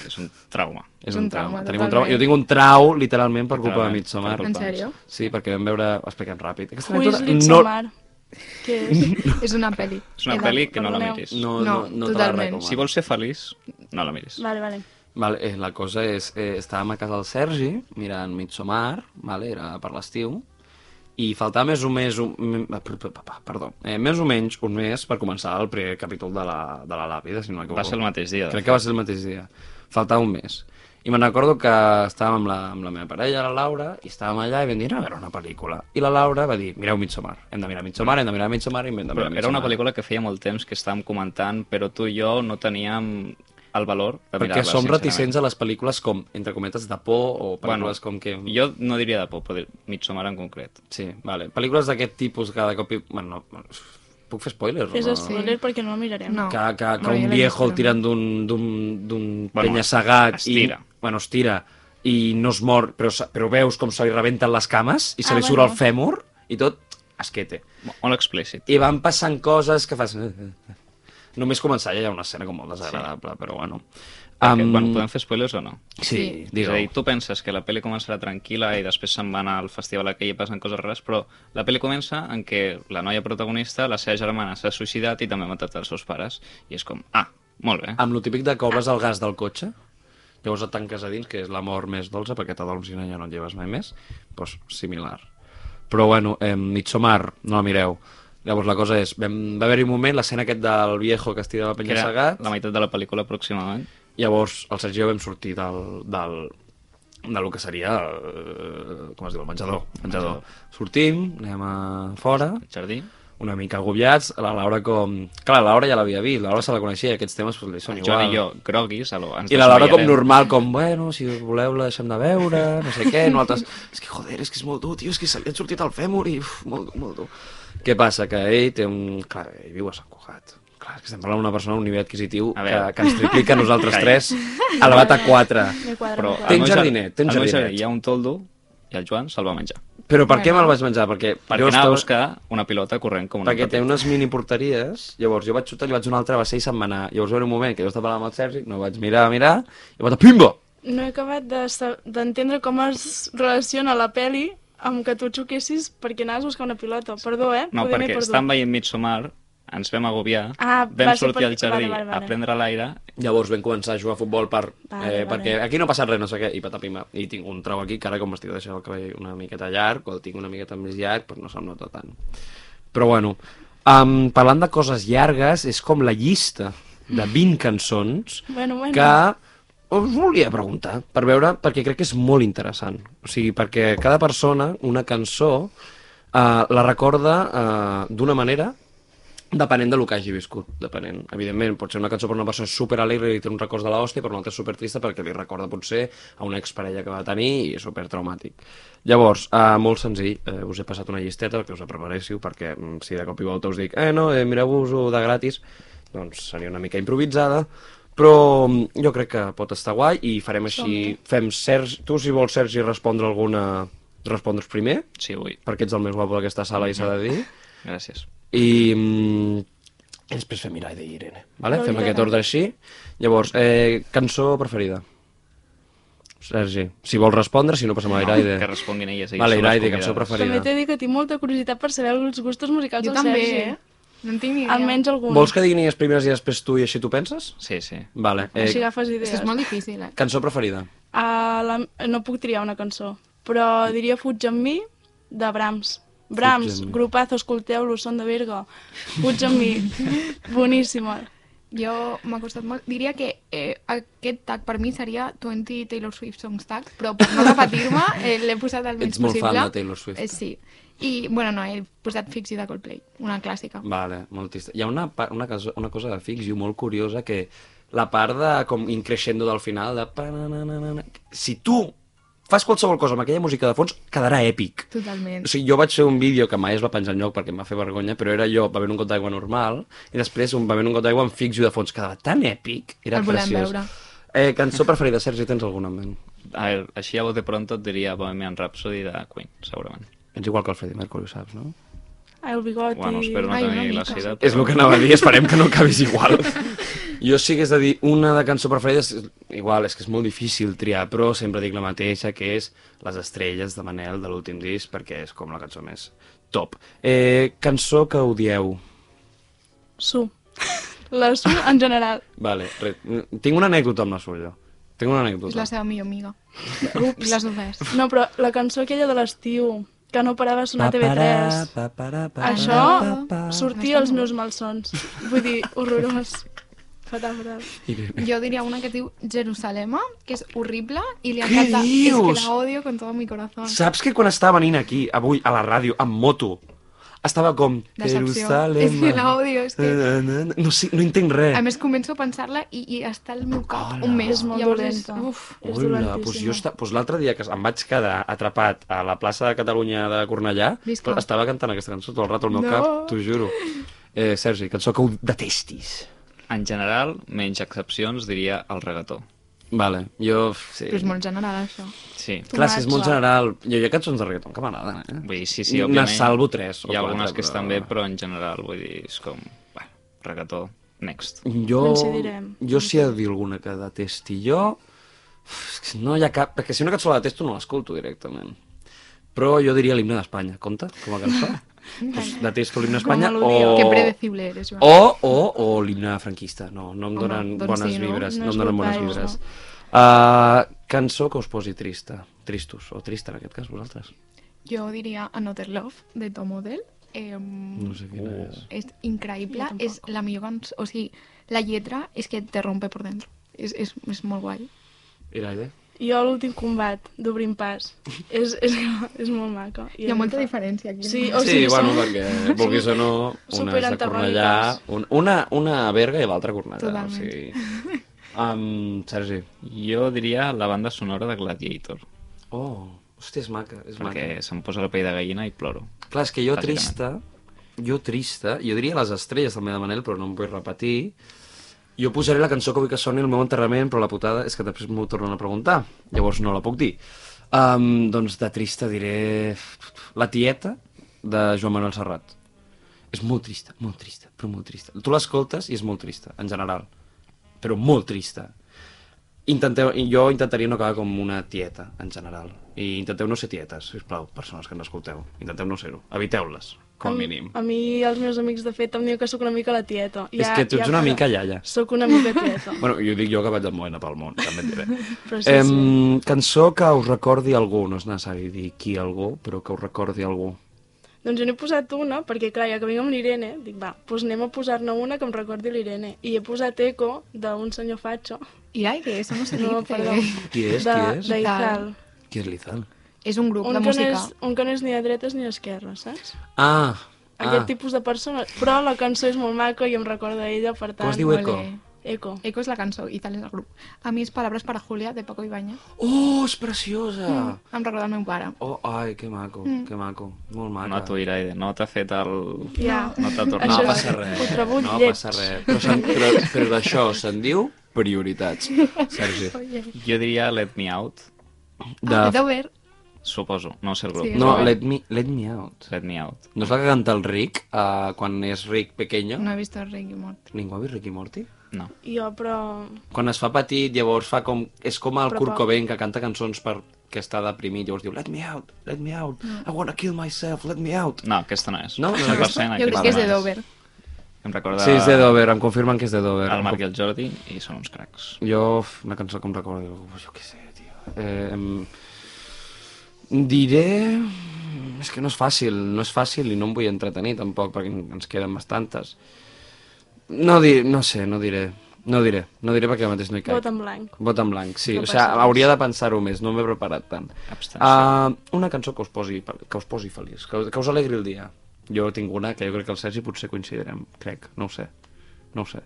És un trauma.
És un, trauma,
trauma,
Tenim un trauma.
totalment.
Jo tinc un trau, literalment, per culpa de
Literalment,
Midsommar.
per
En sèrio?
Sí, perquè vam veure... Ho expliquem ràpid. Aquesta
Weasley no...
no,
Samar. Què és?
És una pel·li.
És una
He de-
pel·li que no la
perdoneu.
miris.
no, no,
No,
no te la
totalment.
recomano.
Si vols ser feliç, no la miris.
Vale, vale.
Vale, eh, la cosa és, eh, estàvem a casa del Sergi mirant Midsommar, vale, era per l'estiu, i faltava més o més... Un, m- p- p- p- perdó, eh, més o menys un mes per començar el primer capítol de la, de la Làpida, si no
Va
m'equivoco.
ser el mateix dia. de
Crec
fet.
que va ser el mateix dia. Faltava un mes. I me'n recordo que estàvem amb la, amb la meva parella, la Laura, i estàvem allà i vam dir, anem a veure una pel·lícula. I la Laura va dir, mireu Midsommar. Hem de mirar Midsommar, hem de mirar Midsommar, i hem de
Però
mirar Midsommar.
era una pel·lícula que feia molt temps que estàvem comentant, però tu i jo no teníem el valor de mirar-la,
Perquè som
sincerament.
reticents a les pel·lícules com, entre cometes, de por o pel·lícules com que...
Jo no diria de por, però dir- Midsommar en concret.
Sí, vale. Pel·lícules d'aquest tipus que de cop... i- Bueno, no, puc fer spoilers? o
És
no?
spoiler perquè no la mirarem.
No.
Que, que, que
No, jo
un
l'he
viejo
vist,
el
però
tiren d'un d'un d'un
Bueno,
bueno, penya-segat
es
i...
tira.
Bueno, es tira i no es mor, però, se- però veus com se li rebenten les cames i se
Ah,
li surt
bueno.
el fèmur i tot esquete.
Molt explícit.
I van passant coses que fas... Només començar ja hi ha una escena com molt desagradable, sí. però bueno.
Perquè,
Am-
bueno, podem fer spoilers o no?
Sí,
Sí.
És a
digue-ho.
dir, tu penses que la pel·li començarà tranquil·la i després se'n van al festival aquell i passen coses rares, però la pel·li comença en què la noia protagonista, la seva germana, s'ha suïcidat i també ha matat els seus pares. I és com, ah, molt bé.
amb lo típic de que obres el gas del cotxe, llavors et tanques a dins, que és la mort més dolça, perquè t'adorms i no, ja no et lleves mai més, doncs similar. Però bueno, eh, Midsommar, no la mireu. Llavors la cosa és, vam, va haver-hi un moment, l'escena aquest del viejo que estira la
que
penya
era
segat,
la meitat de la pel·lícula aproximadament.
llavors el Sergi i jo vam sortir del, del, de lo que seria, eh, com es diu, el menjador. menjador. Sortim, anem a fora,
El jardí.
una mica agobiats, la Laura com... Clar, la Laura ja l'havia vist, la Laura se la coneixia i aquests temes doncs, li són
El
igual.
Joan i jo, groguis, a lo, ens
I la Laura com
desmaiarem.
normal, com, bueno, si voleu la deixem de veure, no sé què, nosaltres... És que, joder, és que és molt dur, tio, és que se li ha sortit el fèmur i uf, molt, dur, molt dur. Què passa? Que ell té un... Clar, ell viu a Sant Cugat. Clar, és que estem parlant d'una persona amb un nivell adquisitiu
A
que,
veure.
que ens triplica a nosaltres
Calla.
tres, elevat a quatre.
De quadre,
Però
Però...
al
Tens
meu jar-
jardinet, tens
al meu
jardinet.
jardí Hi ha un toldo i el Joan se'l va menjar.
Però per què me'l vaig menjar? Perquè,
Perquè
jo
anava
estava-
a buscar una pilota corrent com un
perquè té
petit.
unes mini porteries, llavors jo vaig xutar, li vaig donar altra, va ser i se'n va anar. Llavors va haver un moment que jo estava parlant amb el Sergi, no vaig mirar, mirar, i vaig dir, pimba!
No he acabat de sa- d'entendre com es relaciona la peli amb que tu et xoquessis perquè anaves a buscar una pilota. Perdó, eh?
No,
Poder m'he
perquè
perdut.
estàvem veient Midsommar, ens vam agobiar,
Ah,
vam
va ser
sortir
per-
al jardí
vale, vale, vale.
a prendre l'aire
Llavors vam començar a jugar a futbol per, vale, eh,
Vale, vale.
perquè aquí no ha passat res, no sé què, i patapima. I tinc un trau aquí, que ara com m'estic deixant el cabell una miqueta llarg, o el tinc una miqueta més llarg, però no se'm nota tant. Però bueno, um, parlant de coses llargues, és com la llista de 20 cançons
Bueno, bueno.
que us volia preguntar, per veure, perquè crec que és molt interessant. O sigui, perquè cada persona, una cançó, eh, la recorda eh, d'una manera Depenent del que hagi viscut, depenent. Evidentment, pot ser una cançó per una persona super alegre i li té un record de l'hòstia, però una altra super trista perquè li recorda potser a una exparella que va tenir i és super traumàtic. Llavors, eh, molt senzill, eh, us he passat una llisteta perquè us la preparéssiu, perquè mm, si de cop i volta us dic eh, no, eh, mireu-vos-ho de gratis, doncs seria una mica improvisada, però mm, jo crec que pot estar guai i farem així, fem Sergi, tu si vols Sergi respondre alguna, respondre's primer,
Sí, vull.
perquè ets el més guapo d'aquesta sala i s'ha de dir,
Gràcies.
i, mm, i després fem Mirai de Irene, vale?
Molt
fem
bé.
aquest ordre així. Llavors, eh, cançó preferida? Sergi, si vols respondre, si no passem a Iraide.
Que responguin elles. elles
Vale,
són les
Iraide, cançó
convidades.
També t'he
preferida.
de dir que tinc molta curiositat per saber els gustos musicals
Jo
del
també,
Sergi,
eh? No en tinc ni
eh?
idea.
Almenys alguns.
Vols que diguin les primeres i després tu i així tu penses?
Sí, sí.
Vale.
Així
Eh,
agafes
És
idees.
que és molt difícil, eh?
cançó preferida?
A la... No puc triar una cançó, però diria Fuig amb mi, de Brahms. Brahms,
amb mi.
grupazo, escolteu-lo, són de Virgo. Fuig amb mi. Boníssima.
Jo m'ha costat molt. Diria que eh, aquest tag per mi seria 20 Taylor Swift Songs Tags, però per no repetir-me eh, l'he posat el més
Ets molt
possible.
fan de Taylor Swift.
Eh, sí. I, bueno, no, he posat Fix You de Coldplay, una clàssica.
Vale, moltista. Hi ha una, pa- una, cosa, una cosa de fix i molt curiosa que la part de com increixendo del final de... pa-na-na-na-na, Si tu fas qualsevol cosa amb aquella música de fons, quedarà èpic.
Totalment.
O sigui, jo vaig fer un vídeo que mai es va penjar enlloc perquè em va fer vergonya, però era jo bevent un got d'aigua normal i després un bevent un got d'aigua amb fixo de fons. Quedava tan èpic, era
El volem
preciós.
veure.
Eh, cançó preferida, Sergi, tens alguna en ment?
A veure, així a bote pronto et diria Bohemian Rhapsody de Queen, segurament.
Ets igual que el Freddie Mercury, ho saps, no?
Ai, Ah, el bigoti.
Bueno, espero no
Ai, una
tenir
mica.
la sida.
És el que anava a dir, esperem que no acabis igual. Jo sí que és de dir, una de cançó preferida, és, igual, és que és molt difícil triar, però sempre dic la mateixa, que és Les estrelles de Manel, de l'últim disc, perquè és com la cançó més top. Eh, cançó que odieu.
Su. La su en general.
Vale, re... tinc una anècdota amb la suya. Tinc una anècdota.
És la seva millor amiga. Ups, les ofès.
No, però la cançó aquella de l'estiu, que no parava de sonar a TV3.
Paparà, paparà,
Això
papà.
sortia als meus malsons. Vull dir, horrorós. Fatal, fatal.
Jo diria una que es diu Jerusalema, que és horrible i li
Què
encanta. És que
dius?
la odio con todo mi corazón.
Saps que quan estava venint aquí, avui, a la ràdio, amb moto, estava com...
Decepció.
Jerusalema.
És que l'odio, és que-
Na, na, na. No, sé, no entenc res.
A més, començo a pensar-la i, i està al meu cap
Hola.
un mes.
És molt
Llavors
dolenta.
És, uf,
Hola,
és
doncs jo
dolentíssima.
esta... doncs l'altre dia que em vaig quedar atrapat a la plaça de Catalunya de Cornellà,
Visca.
però estava cantant aquesta cançó tot el rato al meu
No.
cap, t'ho juro. Eh, Sergi, cançó que ho detestis.
En general, menys excepcions, diria el regató.
Vale, jo... Sí.
però és molt general, això.
Sí.
Clar, si és molt
Tomatxa.
general. Jo hi ha cançons de reggaeton que m'agraden, eh?
Vull dir, sí, sí,
òbviament.
òbviament.
N'es salvo tres o
Hi ha algunes
quatre,
que
però-
estan bé, però en general, vull dir, és com... Bueno, regató, next.
Jo,
Coincidirem.
jo si he de dir alguna que detesti jo, uf, és que no hi ha cap... Perquè si una cançó la detesto no l'escolto directament. Però jo diria l'himne d'Espanya, compta, com a cançó. pues detesto l'himne d'Espanya o...
Com a melodia.
Que predecible eres, Joan.
O, o, o l'himne franquista. No, no em
Home,
donen
doncs
bones
sí, no?
vibres. No,
No
em donen bones
escoltar-ho,
vibres. Uh, cançó que us posi trista. Tristos, o trista en aquest cas, vosaltres.
Jo diria Another Love, de Tom Odell. Eh,
No sé quina és.
És increïble, és la millor cançó. O sigui, la lletra és que te rompe por dentro. És, és, és molt guai.
Iraide?
Jo l'últim combat d'Obrint Pas. És, és, és molt maca.
Hi ha molta diferència aquí.
Sí, o
Sí,
sigui,
bueno,
són-
perquè vulguis o no, una és de Cornellà,
superantagòniques.
un, una, una a Berga i l'altra a Cornellà.
Totalment.
O sigui... Um, Sergi.
Jo diria la banda sonora de Gladiator,
Oh, hòstia, és maca, és
perquè
maca.
se'm posa la pell de gallina i ploro.
Clar, és que jo
Bàsicament.
trista, jo trista, jo diria les estrelles també de Manel, però no em vull repetir. Jo posaré la cançó que vull que soni al meu enterrament, però la putada és que després m'ho tornen a preguntar. Llavors no la puc dir. Um, doncs de trista diré... La tieta de Joan Manuel Serrat. És molt trista, molt trista, però molt trista. Tu l'escoltes i és molt trista, en general. Però molt trista. Intenteu, jo intentaria no acabar com una tieta, en general. I intenteu no ser tietes, sisplau, persones que ens escolteu. Intenteu no ser-ho. Eviteu-les, com a mínim.
A mi els meus amics, de fet, em diuen que sóc una mica la tieta.
És que tu ets una mica iaia.
Sóc una mica tieta.
Bueno, jo dic jo que vaig al Moena pel món, també et diré.
Però sí,
Em,
sí.
Cançó que us recordi algú, no és necessari dir qui algú, però que us recordi algú.
Doncs jo n'he posat una, perquè clar, ja que vinc amb l'Irene, dic, va, doncs anem a posar-ne una que em recordi l'Irene. I he posat Eco, d'un senyor Fatxo.
I ai, que somos elite.
No, perdó.
Qui és,
de,
qui és?
De Izal.
Qui és l'Izal?
És un grup
Un
de
que, no
música.
és, un que no és ni de dretes ni d'esquerres, saps?
Ah,
Aquest
ah,
tipus de persona. Però la cançó és molt maca i em recorda ella, per tant...
com es Doncs diu Eco?
Ole.
Eco.
Eco és la cançó i tal és el grup. A mi és Palabras para Julia, de Paco Ibañez.
Oh, és preciosa!
Mm. Em recorda el meu pare.
Oh, ai, que maco, que maco. Molt maca.
No t'ho dirà, no t'ha fet el...
Ja.
Ah, No t'ha tornat.
Això
No
és-
passa res,
ho trobo
no
lleig.
passa res. Però, se'n- però, però d'això se'n diu prioritats, Sergi.
Jo diria Let Me Out,
Ah,
De...
deu ver.
suposo, no sé el grup.
Sí.
No, let me, let me out.
Let Me Out.
No és la que canta el Rick uh, quan és Rick pequeño?
No he vist Rick i Morty.
Ningú ha vist Rick i Morty?
No.
Jo, però...
Quan es fa petit, llavors fa com... És com el
Però
Kurt
poc.
Cobain que canta cançons per que està deprimit, llavors diu Let me out, let me out, I wanna kill myself, let me out.
No, aquesta no és.
No, no, no.
Cent per cent,
Jo crec
aquesta
que és
no
de Dover.
Em recorda
Sí, és de Dover, em confirmen que és de Dover.
el Marc i el Jordi i són uns cracs.
Jo, f- una cançó que em recordi algú, jo què sé, tio. Eh, em... Diré... És que no és fàcil, no és fàcil i no em vull entretenir tampoc, perquè en- ens queden bastantes. No, di... no sé, no diré. No diré, no diré perquè ara mateix no hi caic.
Vot en blanc.
Vot en blanc, sí.
No
o
passa
sigui,
res.
hauria de pensar-ho més, no m'he preparat tant.
Abstenció.
Uh, una cançó que us posi, que us posi feliç, que, us- que us alegri el dia. Jo tinc una que jo crec que el Sergi potser coincidirem, crec, no ho sé. No ho sé.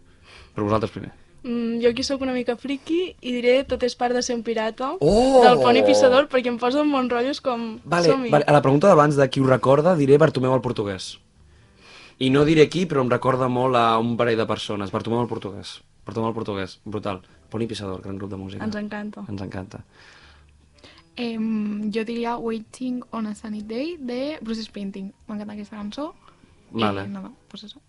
Però vosaltres primer.
Mm, jo aquí sóc una mica friki i diré tot és part de ser un pirata
Oh!
del Pony Pissador perquè em posen bons rotllos com
Vale,
som-hi.
vale, a la pregunta d'abans de qui ho recorda, diré Bartomeu el portuguès. I no diré qui, però em recorda molt a un parell de persones. Bartomeu el portuguès. Bartomeu el portuguès, brutal. Pony Pissador, gran grup de música.
Ens encanta.
Ens encanta.
Eh, jo diria Waiting on a Sunny Day, de Bruce Springsteen. M'encanta aquesta cançó.
Vale.
I nada, pues eso.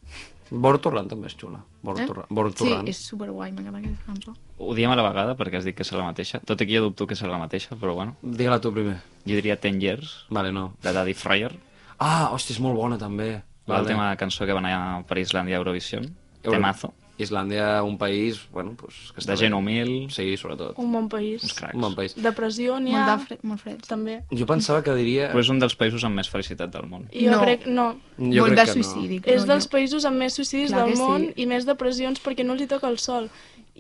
Bortorran també és xula. Bortorran. Bortorran.
Eh? Sí, és superguai, m'encanta aquesta cançó.
Ho diem a la vegada perquè has dit que serà la mateixa, tot i que jo dubto que serà la mateixa, però bueno.
Digue-la tu primer.
Jo diria 10 Years,
Vale, no.
de Daddy Fryer,
Ah, hòstia, és molt bona també.
l'última cançó que va anar per Islàndia a Eurovision,
Euro-
temazo,
Islàndia, un país, bueno, pues, que està
de gent humil,
Sí, sobretot.
Un bon país.
uns cracs.
Un bon país.
Depressió n'hi
Molt,
ha,
de fre molt fred.
també.
Jo pensava que diria...
Però és un dels països amb més felicitat del món.
I jo
No.
crec... No.
jo
molt
crec
de
que no.
suïcidi.
És
no,
dels països amb més suïcidis
Clar
del
que sí.
món i més depressions perquè no els hi toca el sol.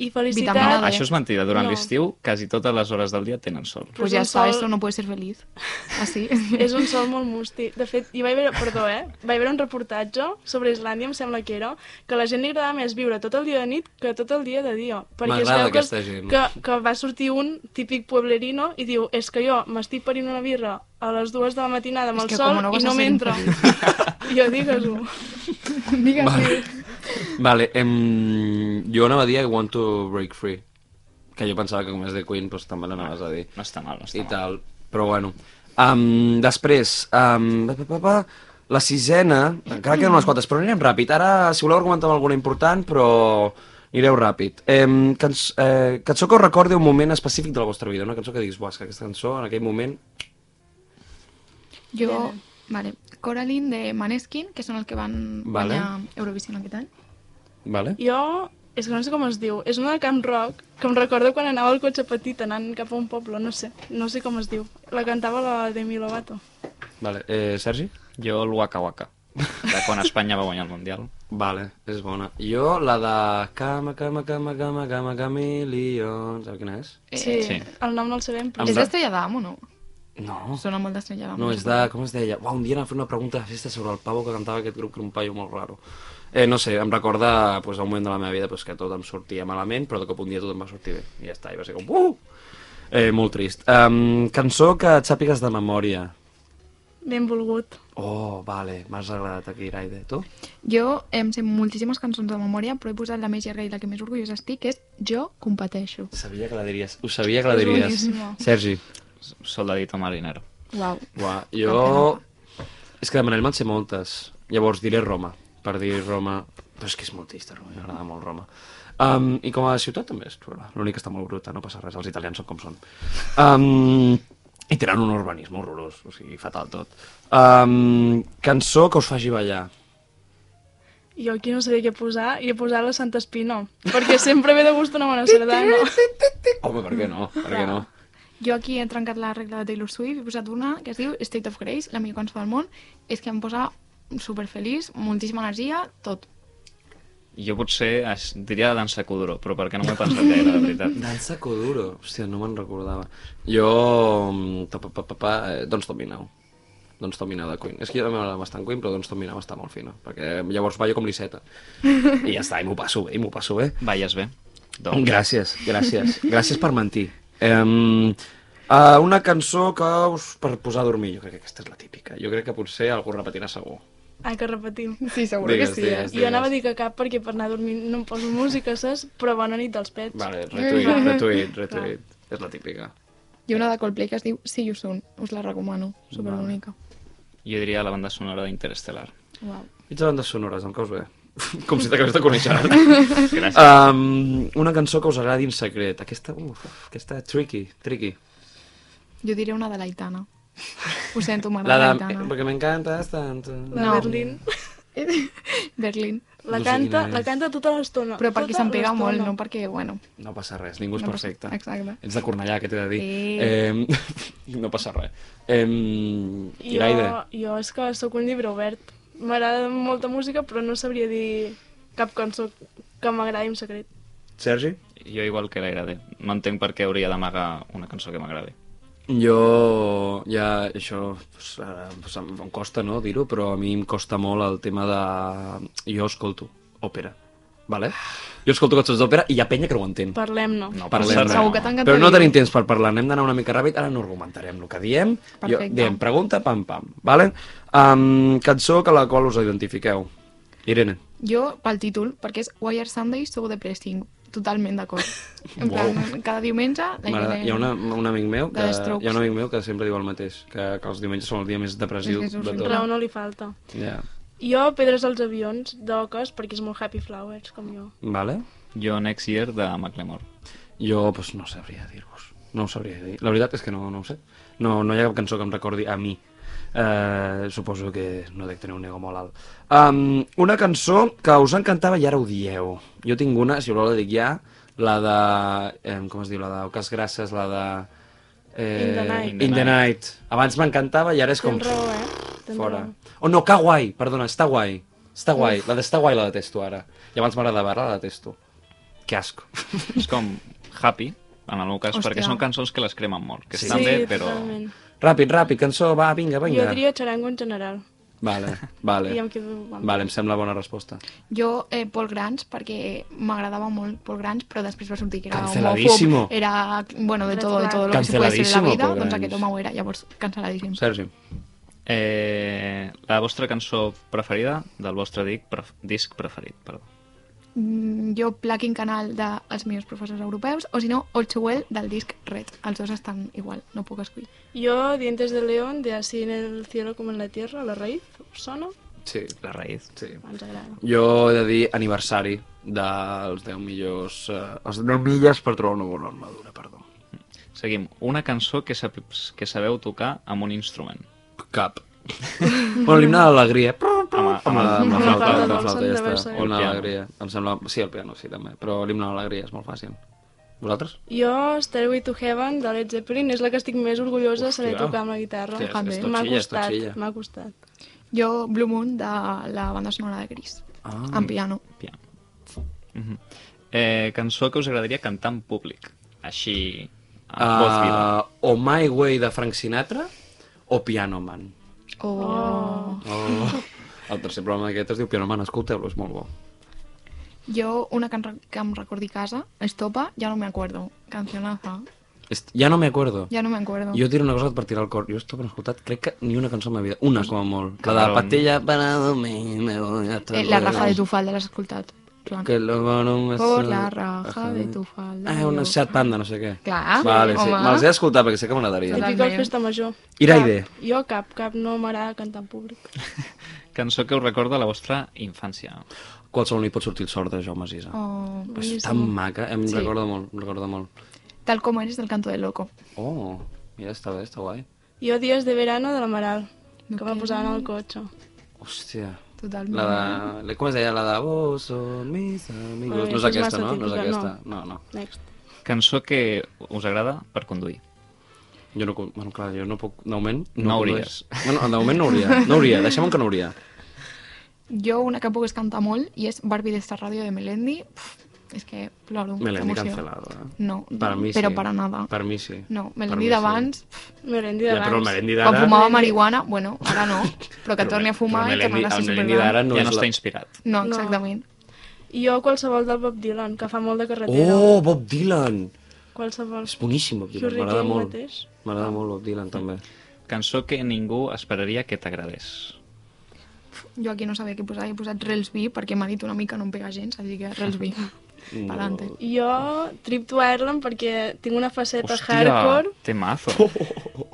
I
No,
felicitat...
Vitamina D.
Però
això és mentida. Durant
No.
l'estiu, quasi totes les hores del dia tenen sol.
és
Pues
un
ya sabes,
sol-
o no puedes ser feliz. Así.
És un sol molt musti. De fet, hi vaig veure, perdó, eh? Vaig veure un reportatge sobre Islàndia, em sembla que era, que a la gent li agradava més viure tot el dia de nit que tot el dia de dia. Perquè es
M'agrada
veu que,
aquesta gent.
que, que va sortir un típic pueblerino i diu, és que jo m'estic parint una birra a les dues de la matinada amb
És
el
que
sol
com no vas
i
a
no
ser
m'entra. jo digues-ho.
Digues,
Vale, em... jo anava a dir I want to break free. Que jo pensava que com és de Queen, doncs també l'anaves a dir.
No està mal, Ah, no està
I
mal.
tal, però bueno. Um, després, um, pa, pa, pa, pa, la sisena, encara queden unes quantes, però anirem ràpid. Ara, si voleu argumentar amb alguna important, però anireu ràpid. Um, canç, eh, cançó que us recordi un moment específic de la vostra vida, una cançó que diguis, buah, és que aquesta cançó en aquell moment...
Jo, vale, Coraline de Maneskin, que són els que van
Vale.
guanyar Eurovision aquest any.
Vale?
Jo, és que no sé com es diu, és una de Camp Rock, que em recordo quan anava al cotxe petit anant cap a un poble, no sé, no sé com es diu. La cantava la Demi Lovato.
Vale. Eh, Sergi?
Jo el Waka Waka. de quan Espanya va guanyar el Mundial.
Vale, és bona. Jo, la de cama, cama, cama, cama, cama, camilion... Saps quina és?
Eh,
Sí,
Sí.
el nom no el sabem, però...
Em
És
va-
d'Estrella d'Am o no?
No.
Sona molt d'Estrella d'Am.
No, és de... Com es deia? Uau, un dia anava a fer una pregunta de festa sobre el pavo que cantava aquest grup, que era un paio molt raro. Eh, no sé, em recorda pues, a un moment de la meva vida pues, que tot em sortia malament, però de cop un dia tot em va sortir bé. I ja està, i va ser com... Uh! Eh, molt trist. Um, cançó que et sàpigues de memòria.
Benvolgut.
Oh, vale, m'has agradat aquí, Raide. Tu?
Jo em sé moltíssimes cançons de memòria, però he posat la més llarga i la que més orgullosa estic, que és Jo competeixo.
Sabia que la diries. Ho sabia que la
És
diries.
boníssima.
Sergi.
Soldadito marinero.
Uau.
Uà, jo... És que de Manel me'n sé moltes. Llavors diré Roma, per dir Roma... Però és que és molt trista, Roma, m'agrada molt Roma. Um, I com a ciutat també és xula. L'únic que està molt bruta, no passa res, els italians són com són. Um, I tenen un urbanisme horrorós, o sigui, fatal tot. Um, cançó que us faci ballar.
Jo aquí no sabia què posar i he posat la Santa Espina, perquè sempre ve de gust una bona sardana.
Home, per què no? Per què no?
Jo aquí he trencat la regla de Taylor Swift i he posat una que es diu State of Grace, la millor cançó del món. És que em posa superfeliç, moltíssima energia, tot.
Jo potser es diria de dansa Kuduro, però perquè no m'ho he pensat gaire, de veritat.
Dansa Coduro. Hòstia, no me'n recordava. Jo... mm, Ta, pa, pa, pa, pa, eh, doncs dominau. Doncs dominau de Queen. És que jo també m'agrada bastant Queen, però doncs dominau està molt fina. Perquè llavors ballo com l'Iceta. I ja està, i m'ho passo bé, i m'ho passo bé.
Balles bé? Doncs,
Gràcies, gràcies. Gràcies per mentir. Um, uh, una cançó que us... per posar a dormir. Jo crec que aquesta és la típica. Jo crec que potser algú repetirà segur.
Ah, que repetim.
Sí, segur
Digues, que sí, eh? digues,
Jo anava a dir que cap perquè per anar a dormir no em poso música, saps? Però bona nit dels pets.
Vale, retuit, retuit, retuit. És la típica.
Hi ha una de Coldplay que es diu See You Soon. Us la recomano, superbonica.
jo diria la banda sonora d'Interestelar.
Uau.
Mitja bandes sonores, em caus bé. Com si t'acabés de conèixer ara.
Gràcies.
Um, una cançó que us agradi en secret. Aquesta, uf, aquesta tricky, tricky.
Jo diré una de l'Aitana. Ho sento,
La
m'agrada
de... eh,
l'Aitana.
Perquè m'encanta tant. No.
La
No.
Berlín.
Berlín.
La
Doncs No sé
canta,
quina
la
és.
canta tota l'estona.
Però perquè
tota
se'm pega
l'estona.
molt, no perquè, bueno...
no passa res, ningú és
No passa-
perfecte.
exacte.
Ets de Cornellà, què t'he de dir?
Eh.
Eh, no passa res. Eh,
Jo,
Iraide,
jo és que sóc un llibre obert. M'agrada molta música, però no sabria dir cap cançó que m'agradi en secret.
Sergi?
Jo igual que l'agrada. No entenc per què hauria d'amagar una cançó que m'agradi.
Jo ja, això pues, ara, pues, em, em costa no dir-ho, però a mi em costa molt el tema de... Jo escolto òpera, vale? Jo escolto cançons d'òpera i hi ha penya que no ho entén.
Parlem-ne.
No,
Parlem,
passa
Segur que
res.
t'encanta
Però no
dir-ho.
tenim temps per parlar, n'hem d'anar una mica ràpid, ara no argumentarem el que diem. Jo,
Perfecte.
diem pregunta, pam, pam. Vale? Um, cançó que la qual us identifiqueu. Irene.
Jo, pel títol, perquè és Wire Sunday So Depressing. Totalment d'acord. En
Uau.
plan, cada diumenge... la
M'agrada-
Irene-
Hi ha una, un amic meu
de
que,
Strokes.
hi ha un amic meu que sempre diu el mateix, que, que els diumenges són el dia més depressiu
És que és
de
horrible.
tot.
Raó no li falta.
Ja.
Jo, Pedres als avions, d'oques, perquè és molt happy flowers, com jo.
Vale?
Jo Next Year de Macklemore.
Jo, doncs, no sabria dir-vos. No ho sabria dir. La veritat és que no, no ho sé. No, no hi ha cap cançó que em recordi a mi. Eh, suposo que no dec tenir un ego molt alt. Um, una cançó que us encantava i ara odieu. Jo tinc una, si voleu la dic ja, la de... Eh, com es diu? La de Oques Grasses, la de... Eh,
In the Night.
In the Night. Abans m'encantava i ara és com...
Tens raó, eh? Tens
Fora.
raó.
Oh, no, que guai! Perdona, està guai. Està guai. La d'està guai la detesto ara. I abans m'agradava, ara la detesto. Que asco.
És com Happy, en el meu cas,
Hòstia.
perquè són cançons que les cremen molt, que
Sí.
estan
sí,
bé, però...
totalment.
Ràpid, ràpid, cançó, va, vinga, vinga.
Jo diria xarango en general.
Vale, vale.
I em quedo amb-
Vale, em sembla bona resposta.
Jo, eh, Paul Grans, perquè m'agradava molt Paul Grans, però després va sortir que era
Canceladísimo.
homòfob, era, bueno, de
Red
todo, de
flag.
todo lo que se puede ser en
Canceladísimo,
la vida,
Paul
doncs
Grans.
aquest home ho era, llavors, canceladíssim.
Sergi.
Eh, la vostra cançó preferida del vostre dic, pref disc preferit, perdó.
Mm, jo, Placking Canal, dels meus professors europeus, o si no, All Too Well, del disc Red. Els dos estan igual, no puc escollir.
Yo, Dientes de León, de Así en el cielo como en la tierra, la raíz, ¿os sona?
Sí,
La raïs.
sí.
Ens agrada.
Jo he de dir aniversari dels 10 millors... Eh, els 10 milles per trobar una bona armadura, perdó.
Seguim. Una cançó que, sap que sabeu tocar amb un instrument.
Cap. bueno, l'himne de l'alegria. Amb,
Amb-
amb, la- amb la
amb
flauta,
la flauta
amb la
dolça
flauta, ja
de
està.
Versailles.
L'himne
El
de
piano.
l'alegria. Em sembla... Sí, el piano, sí, també. Però l'himne de l'alegria és molt fàcil. Vosaltres?
Jo, Stairway to Heaven, de Led Zeppelin, és la que estic més orgullosa de saber
Hòstia.
tocar amb la guitarra.
Hòstia, és-
també.
és
M'ha
totxilla, és totxilla.
costat, m'ha costat.
Jo, Blue Moon, de la banda sonora de Gris.
Ah.
En piano.
Piano. Mhm. eh, cançó que us agradaria cantar en públic. Així, a uh... voz viva.
Uh, o My Way de Frank Sinatra o Piano Man.
O... Oh.
Oh. El tercer programa d'aquest es diu Piano Man, escolteu-lo, és molt bo.
Jo, una que, em re- que em recordi casa, Estopa, ja no me acuerdo. Cancionaza.
Est- Ja no me acuerdo.
Ja no me acuerdo. Eh,
Jo et diré una cosa per tirar el cor. Jo esto no he escoltat, crec que ni una cançó en la vida. Una, com a molt. La de
Cabrón.
Patilla para dormir, me voy a
Eh, la raja de tu falda l'has escoltat. Clar.
Que luego no me
Por
sal-
la raja de tu falda.
Ah, una
yo-
Sad Panda, no sé què.
Clar,
Vale, sí.
home.
Me'ls he escoltat perquè sé que m'agradaria.
Totalment.
Típica al festa major.
Iraide.
Cap. Jo cap, cap, no m'agrada cantar en públic.
Cançó que us recorda la vostra infància.
Qualsevol nit pot sortir el sort de Jaume Sisa.
Oh,
és tan maca, em
Sí.
recorda molt, em recorda molt.
tal com eres del canto de loco.
Oh, mira, està bé, està guai.
Jo Dies de Verano de la Maral, que me
Ok.
posaven al cotxe.
Hòstia.
Totalment.
La de... la- Com es deia? La de vos son mis amigos.
Bueno,
No és
això és
aquesta,
massa
no? No és
típica,
aquesta. No, no.
Next.
Cançó que us agrada per conduir.
Jo no... con- Bueno, clar, jo no puc... De moment...
No
condueix. Bueno, de moment no hauria. No hauria. Deixem que no hauria.
Jo una que puc cantar molt i és Barbie de esta radio de Melendi. Pff, és que ploro.
Melendi
d'emoció.
cancelado, eh?
No,
Per mi
però
sí.
para nada.
Per mi sí.
No,
Per
Melendi
mi
d'abans, pff,
Melendi
Sí. Ja,
d'abans.
però el Melendi d'ara...
quan fumava marihuana, bueno, ara no, però que
Però
torni a fumar
però
i tornarà a ser
Melendi- el Melendi
superblanc.
d'ara
No
no
ja
és
no
la-
està inspirat.
No,
No.
exactament.
I jo qualsevol del Bob Dylan, que fa molt de carretera.
Oh, Bob Dylan!
Qualsevol.
És boníssim, Bob Dylan.
Hurricane
M'agrada molt.
mateix.
M'agrada molt Bob Dylan, també.
Cançó que ningú esperaria que t'agradés.
Jo aquí no sabia què posar, he posat Rels B perquè m'ha dit una mica no em pega gens, així que Rels B. Pa'lante.
Jo Trip to Ireland perquè tinc una faceta
Hòstia,
hardcore
temazo.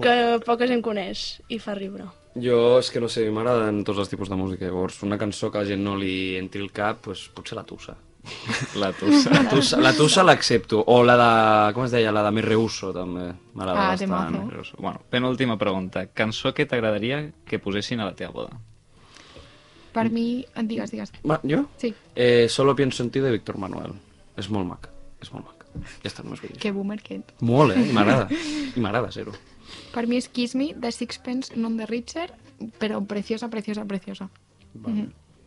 que poca gent coneix i fa riure.
Jo és que no sé, m'agraden tots els tipus de música, llavors una cançó que a la gent no li entri el cap, doncs potser la Tussa. Oh.
La tussa.
La Tussa- La Tussa l'accepto, o la de, com es deia, la de Me Rehuso també, m'agrada
Ah,
bastant.
temazo.
Bueno, penúltima pregunta. Cançó que t'agradaria que posessin a la teva boda.
Per mi, et digues, digues.
Va, jo?
Sí,
Eh, Solo pienso en ti de Víctor Manuel. És molt mac, és molt mac. Ja està, només vull dir.
que boomer que ets.
Molt, eh? I M'agrada, i m'agrada ser-ho.
Per mi és Kiss Me, de Sixpence, non de Richard, però preciosa, preciosa, preciosa.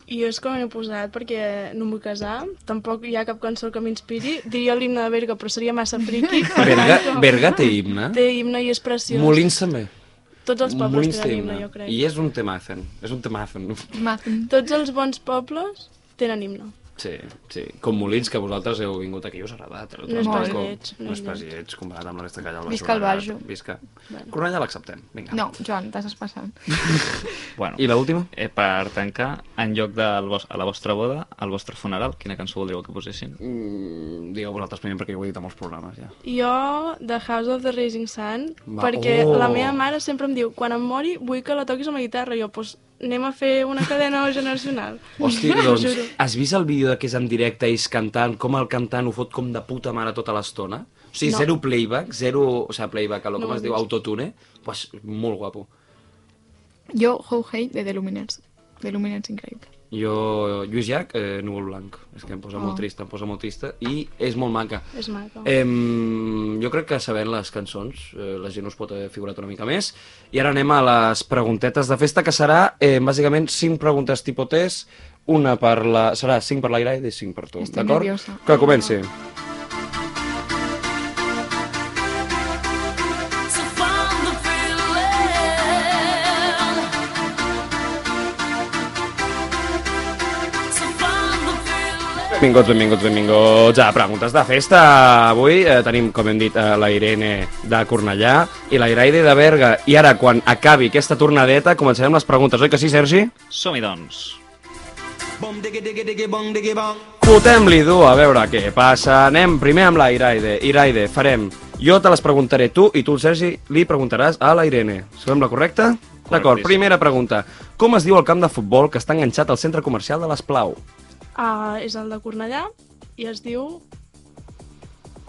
I jo és com he posat perquè no em vull casar, tampoc hi ha cap cançó que m'inspiri. Diria l'himne de Berga, però seria massa friqui.
Berga, Berga té himne?
Té himne i és preciós.
eh? Molins també.
Tots els pobles
Molins té
tenen himne,
himne.
jo crec.
I és un temacen, és un temacen.
Mazen.
Tots els bons pobles tenen himne.
Sí, sí. Com Molins, que vosaltres heu vingut aquí i us ha agradat. El
No és
transport
pas
com-
lleig, no
No és
és
pas lleig, comparat amb la resta que allà al
Visca el
Baix Llobregat.
Bajo.
Visca. Cornellà l'acceptem, vinga.
No, Joan, t'has passat.
Bueno,
I l'última?
eh, per tancar, en lloc de a la vostra boda, al vostre funeral, quina cançó voldríeu que posessin?
Mm, digueu vosaltres primer perquè jo ho he dit a molts programes ja.
Jo, The House of the Rising Sun,
Va-
perquè
Oh!
la meva mare sempre em diu quan em mori vull que la toquis amb la guitarra. Jo, doncs, anem a fer una cadena generacional.
Hosti,
T'ho
doncs,
juro.
has vist el vídeo de que és en directe ells cantant, com el cantant ho fot com de puta mare tota l'estona? O sigui,
No.
zero playback, zero, o sigui, playback, allò,
No
com
ho
es
he
diu,
vist.
autotune, pues, molt guapo.
Jo, How Hey, de The Luminers. The Luminers, increïble.
Jo, Lluís Llach, eh, Núvol Blanc, és que em posa
Oh.
molt trista, em posa molt trista, i és molt maca.
És maco. Eh.
Eh, jo crec que sabent les cançons eh, la gent us pot haver figurat una mica més i ara anem a les preguntetes de festa que serà eh, bàsicament 5 preguntes tipotes una per la... serà 5 per l'aire i 5 per tu,
Estic
d'acord?
nerviosa.
Que comenci.
So from the pretty land. So from the pretty land.
Benvinguts, benvinguts, benvinguts a Preguntes de Festa. Avui eh, tenim, com hem dit, eh, la Irene de Cornellà i la Iraide de Berga. I ara, quan acabi aquesta tornadeta, començarem les preguntes, oi que sí, Sergi?
Som-hi, doncs.
Fotem-li dur a veure què passa. Anem primer amb la Iraide. Iraide, farem... Jo te les preguntaré tu i tu, el Sergi, li preguntaràs a la Irene. Sembla correcte? D'acord,
Correctíssim.
primera pregunta. Com es diu el camp de futbol que està enganxat al centre comercial de l'Esplau?
Ah, és el de Cornellà i es diu...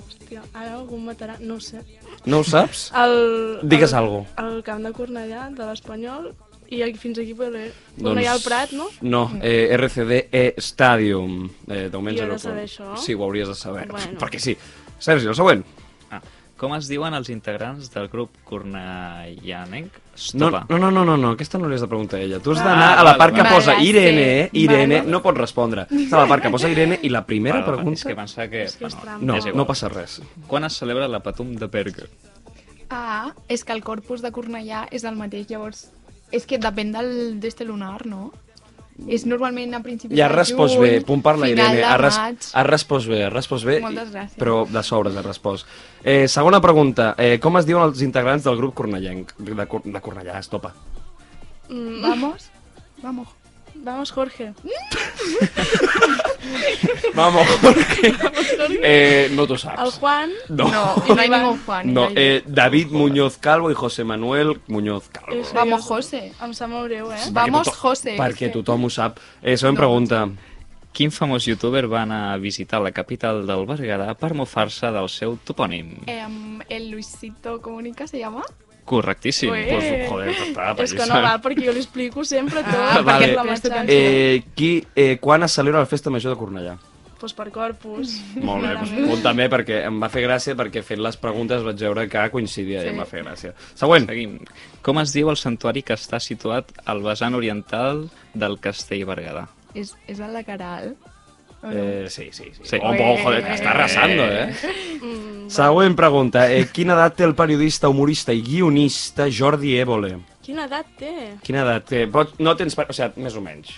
Hòstia, ara algú em matarà, no ho sé.
No ho saps?
El,
Digues
el,
algo.
El camp de Cornellà, de l'Espanyol, i aquí, fins aquí podré... Doncs... Cornellà al Prat, no?
No, eh, RCD e Stadium. Eh, de moment
Jo no
zero
saber
punt.
això.
Sí, ho hauries de saber.
Bueno.
Perquè sí. Sergi, el següent.
Ah, com es diuen els integrants del grup cornellanenc?
No,
Estopa.
no, no, no, no, no, aquesta no li has de preguntar a ella. Tu has d'anar
Ah,
a la
vale,
part que
vale.
posa
Vale,
Irene, eh?
sí.
Irene,
Vale.
no pot respondre. Està a la part que posa Irene i la primera
Perdó,
pregunta...
És que pensava que...
És que és trampa.
No,
és igual.
no passa res.
Quan es celebra la Patum de Berga?
Ah, és que el corpus de Cornellà és el mateix, llavors... És que depèn del d'este lunar, no? És normalment a principis
Ja has
de juny,
respost bé, punt per la
final
Irene.
de
Has, res,
maig...
has respost bé, has respost bé.
Moltes gràcies.
Però de sobres has respost. Eh, segona pregunta. Eh, com es diuen els integrants del grup cornellenc? De, Cor- de Cornellà, estopa.
Mm,
Vamos, vamos.
vamos, Jorge.
Vamos, Jorge. Eh, no t'ho
El
saps.
Juan,
No.
No, i no hi ha ningú Juan.
No,
hi ha
eh, David Muñoz Calvo i José Manuel Muñoz Calvo.
És-
Vamos, José.
em sap molt greu, eh?
Perquè
Vamos,
tothom-
José.
Perquè
És que-
tothom ho sap. Eh, següent pregunta.
Quin famós youtuber va anar a visitar la capital del Berguedà per mofar-se del seu topònim?
Eh.
Em, el Luisito Comunica se llama?
Correctíssim.
Ué.
Pues, joder, pues, para,
És que no va, perquè jo li explico sempre tot.
Ah,
perquè
vale.
la
Aquesta
matxaca.
cançó.
Eh, qui, eh, quan es celebra la festa major de Cornellà?
Pues per corpus.
Molt bé, doncs
clarament.
punt també perquè em va fer gràcia perquè fent les preguntes vaig veure que coincidia sí. i
Sí.
em va fer gràcia. Següent.
Seguim. Com es diu el santuari que està situat al vessant oriental del Castell Berguedà?
És, és el de Caral.
Eh, sí, sí, sí.
Sí.
Oh, oh, joder, que està arrasando, eh?
Mm,
Següent pregunta. Eh, quina edat té el periodista, humorista i guionista Jordi Évole?
quina edat té?
Quina edat té? Eh, Pot... No tens... per- O sigui, més o menys.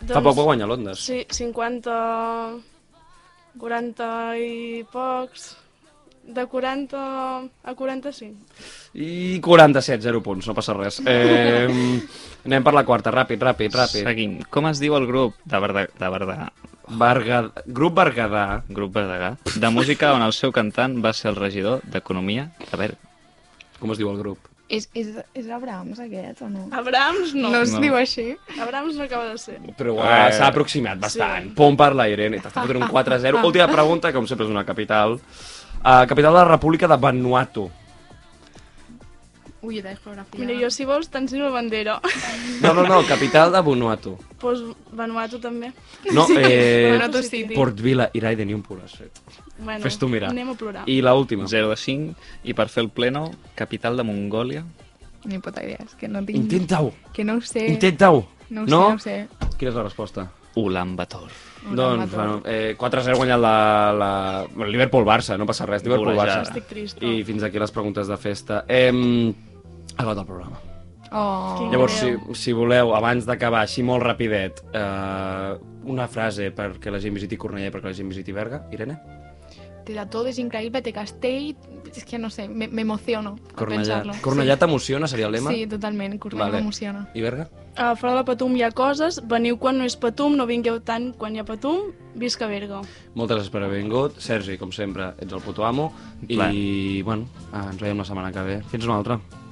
Doncs,
Fa poc va guanyar l'Ondes.
Sí, 50... 40 i pocs... De 40 a 45.
I 47, 0 punts, no passa res. Eh, anem per la quarta, ràpid, ràpid, ràpid.
Seguim. Com es diu el grup de Berda... de Berguedà?
Berga... Grup Berguedà.
Grup Berguedà, de música on el seu cantant va ser el regidor d'Economia de Berga.
Com es diu el grup?
És, és, és Abrams, aquest, o no?
Abrams no.
No es
No.
diu així.
Abrams no acaba de ser.
Però
Ah,
eh, s'ha aproximat bastant. Sí. Punt per la Irene. T'està fotent un 4-0. Última pregunta, com sempre és una capital. Uh, capital de la República de Vanuatu.
Ui, era de geografia.
Mira, jo si vols t'ensino la bandera.
No, no, no, capital de Vanuatu.
pues Vanuatu també.
No, eh,
Vanuatu City.
Port Vila i Rai de ni un punt has fet.
Bueno,
Fes tu mirar.
Anem a
Ah.
plorar. I...
I l'última.
0 de 5, i per fer el pleno, capital de Mongòlia.
Ni puta idea, és que no tinc...
Intenta-ho,
Que no ho sé.
intenta-ho.
Eh, No ho sé,
no?
no ho sé.
Quina és la resposta?
Ulan Bator.
No,
doncs,
no,
bueno, eh, 4-0 guanyat la, la... bueno, Liverpool-Barça, no passa res, Liverpool-Barça.
Golejada.
Estic trista.
I fins aquí les preguntes de festa. Hem acabat el programa.
Oh.
Quin
Llavors, si,
greu.
si voleu, abans d'acabar, així molt rapidet, eh, una frase perquè la gent visiti Cornellà i perquè la gent visiti Berga. Irene?
Te da todo, es increíble, te castell... Es que no sé, me, me emociono al
Cornellà.
pensarlo.
Cornellà t'emociona, seria el lema?
Sí, totalment, Cornellà
Vale.
m'emociona.
I Berga?
A fora de Patum hi ha coses, veniu quan no és Patum, no vingueu tant quan hi ha Patum, visca Berga.
Moltes gràcies per haver vingut. Sergi, com sempre, ets el puto amo. I,
Clar.
bueno, ens veiem la setmana que ve. Fins una altra.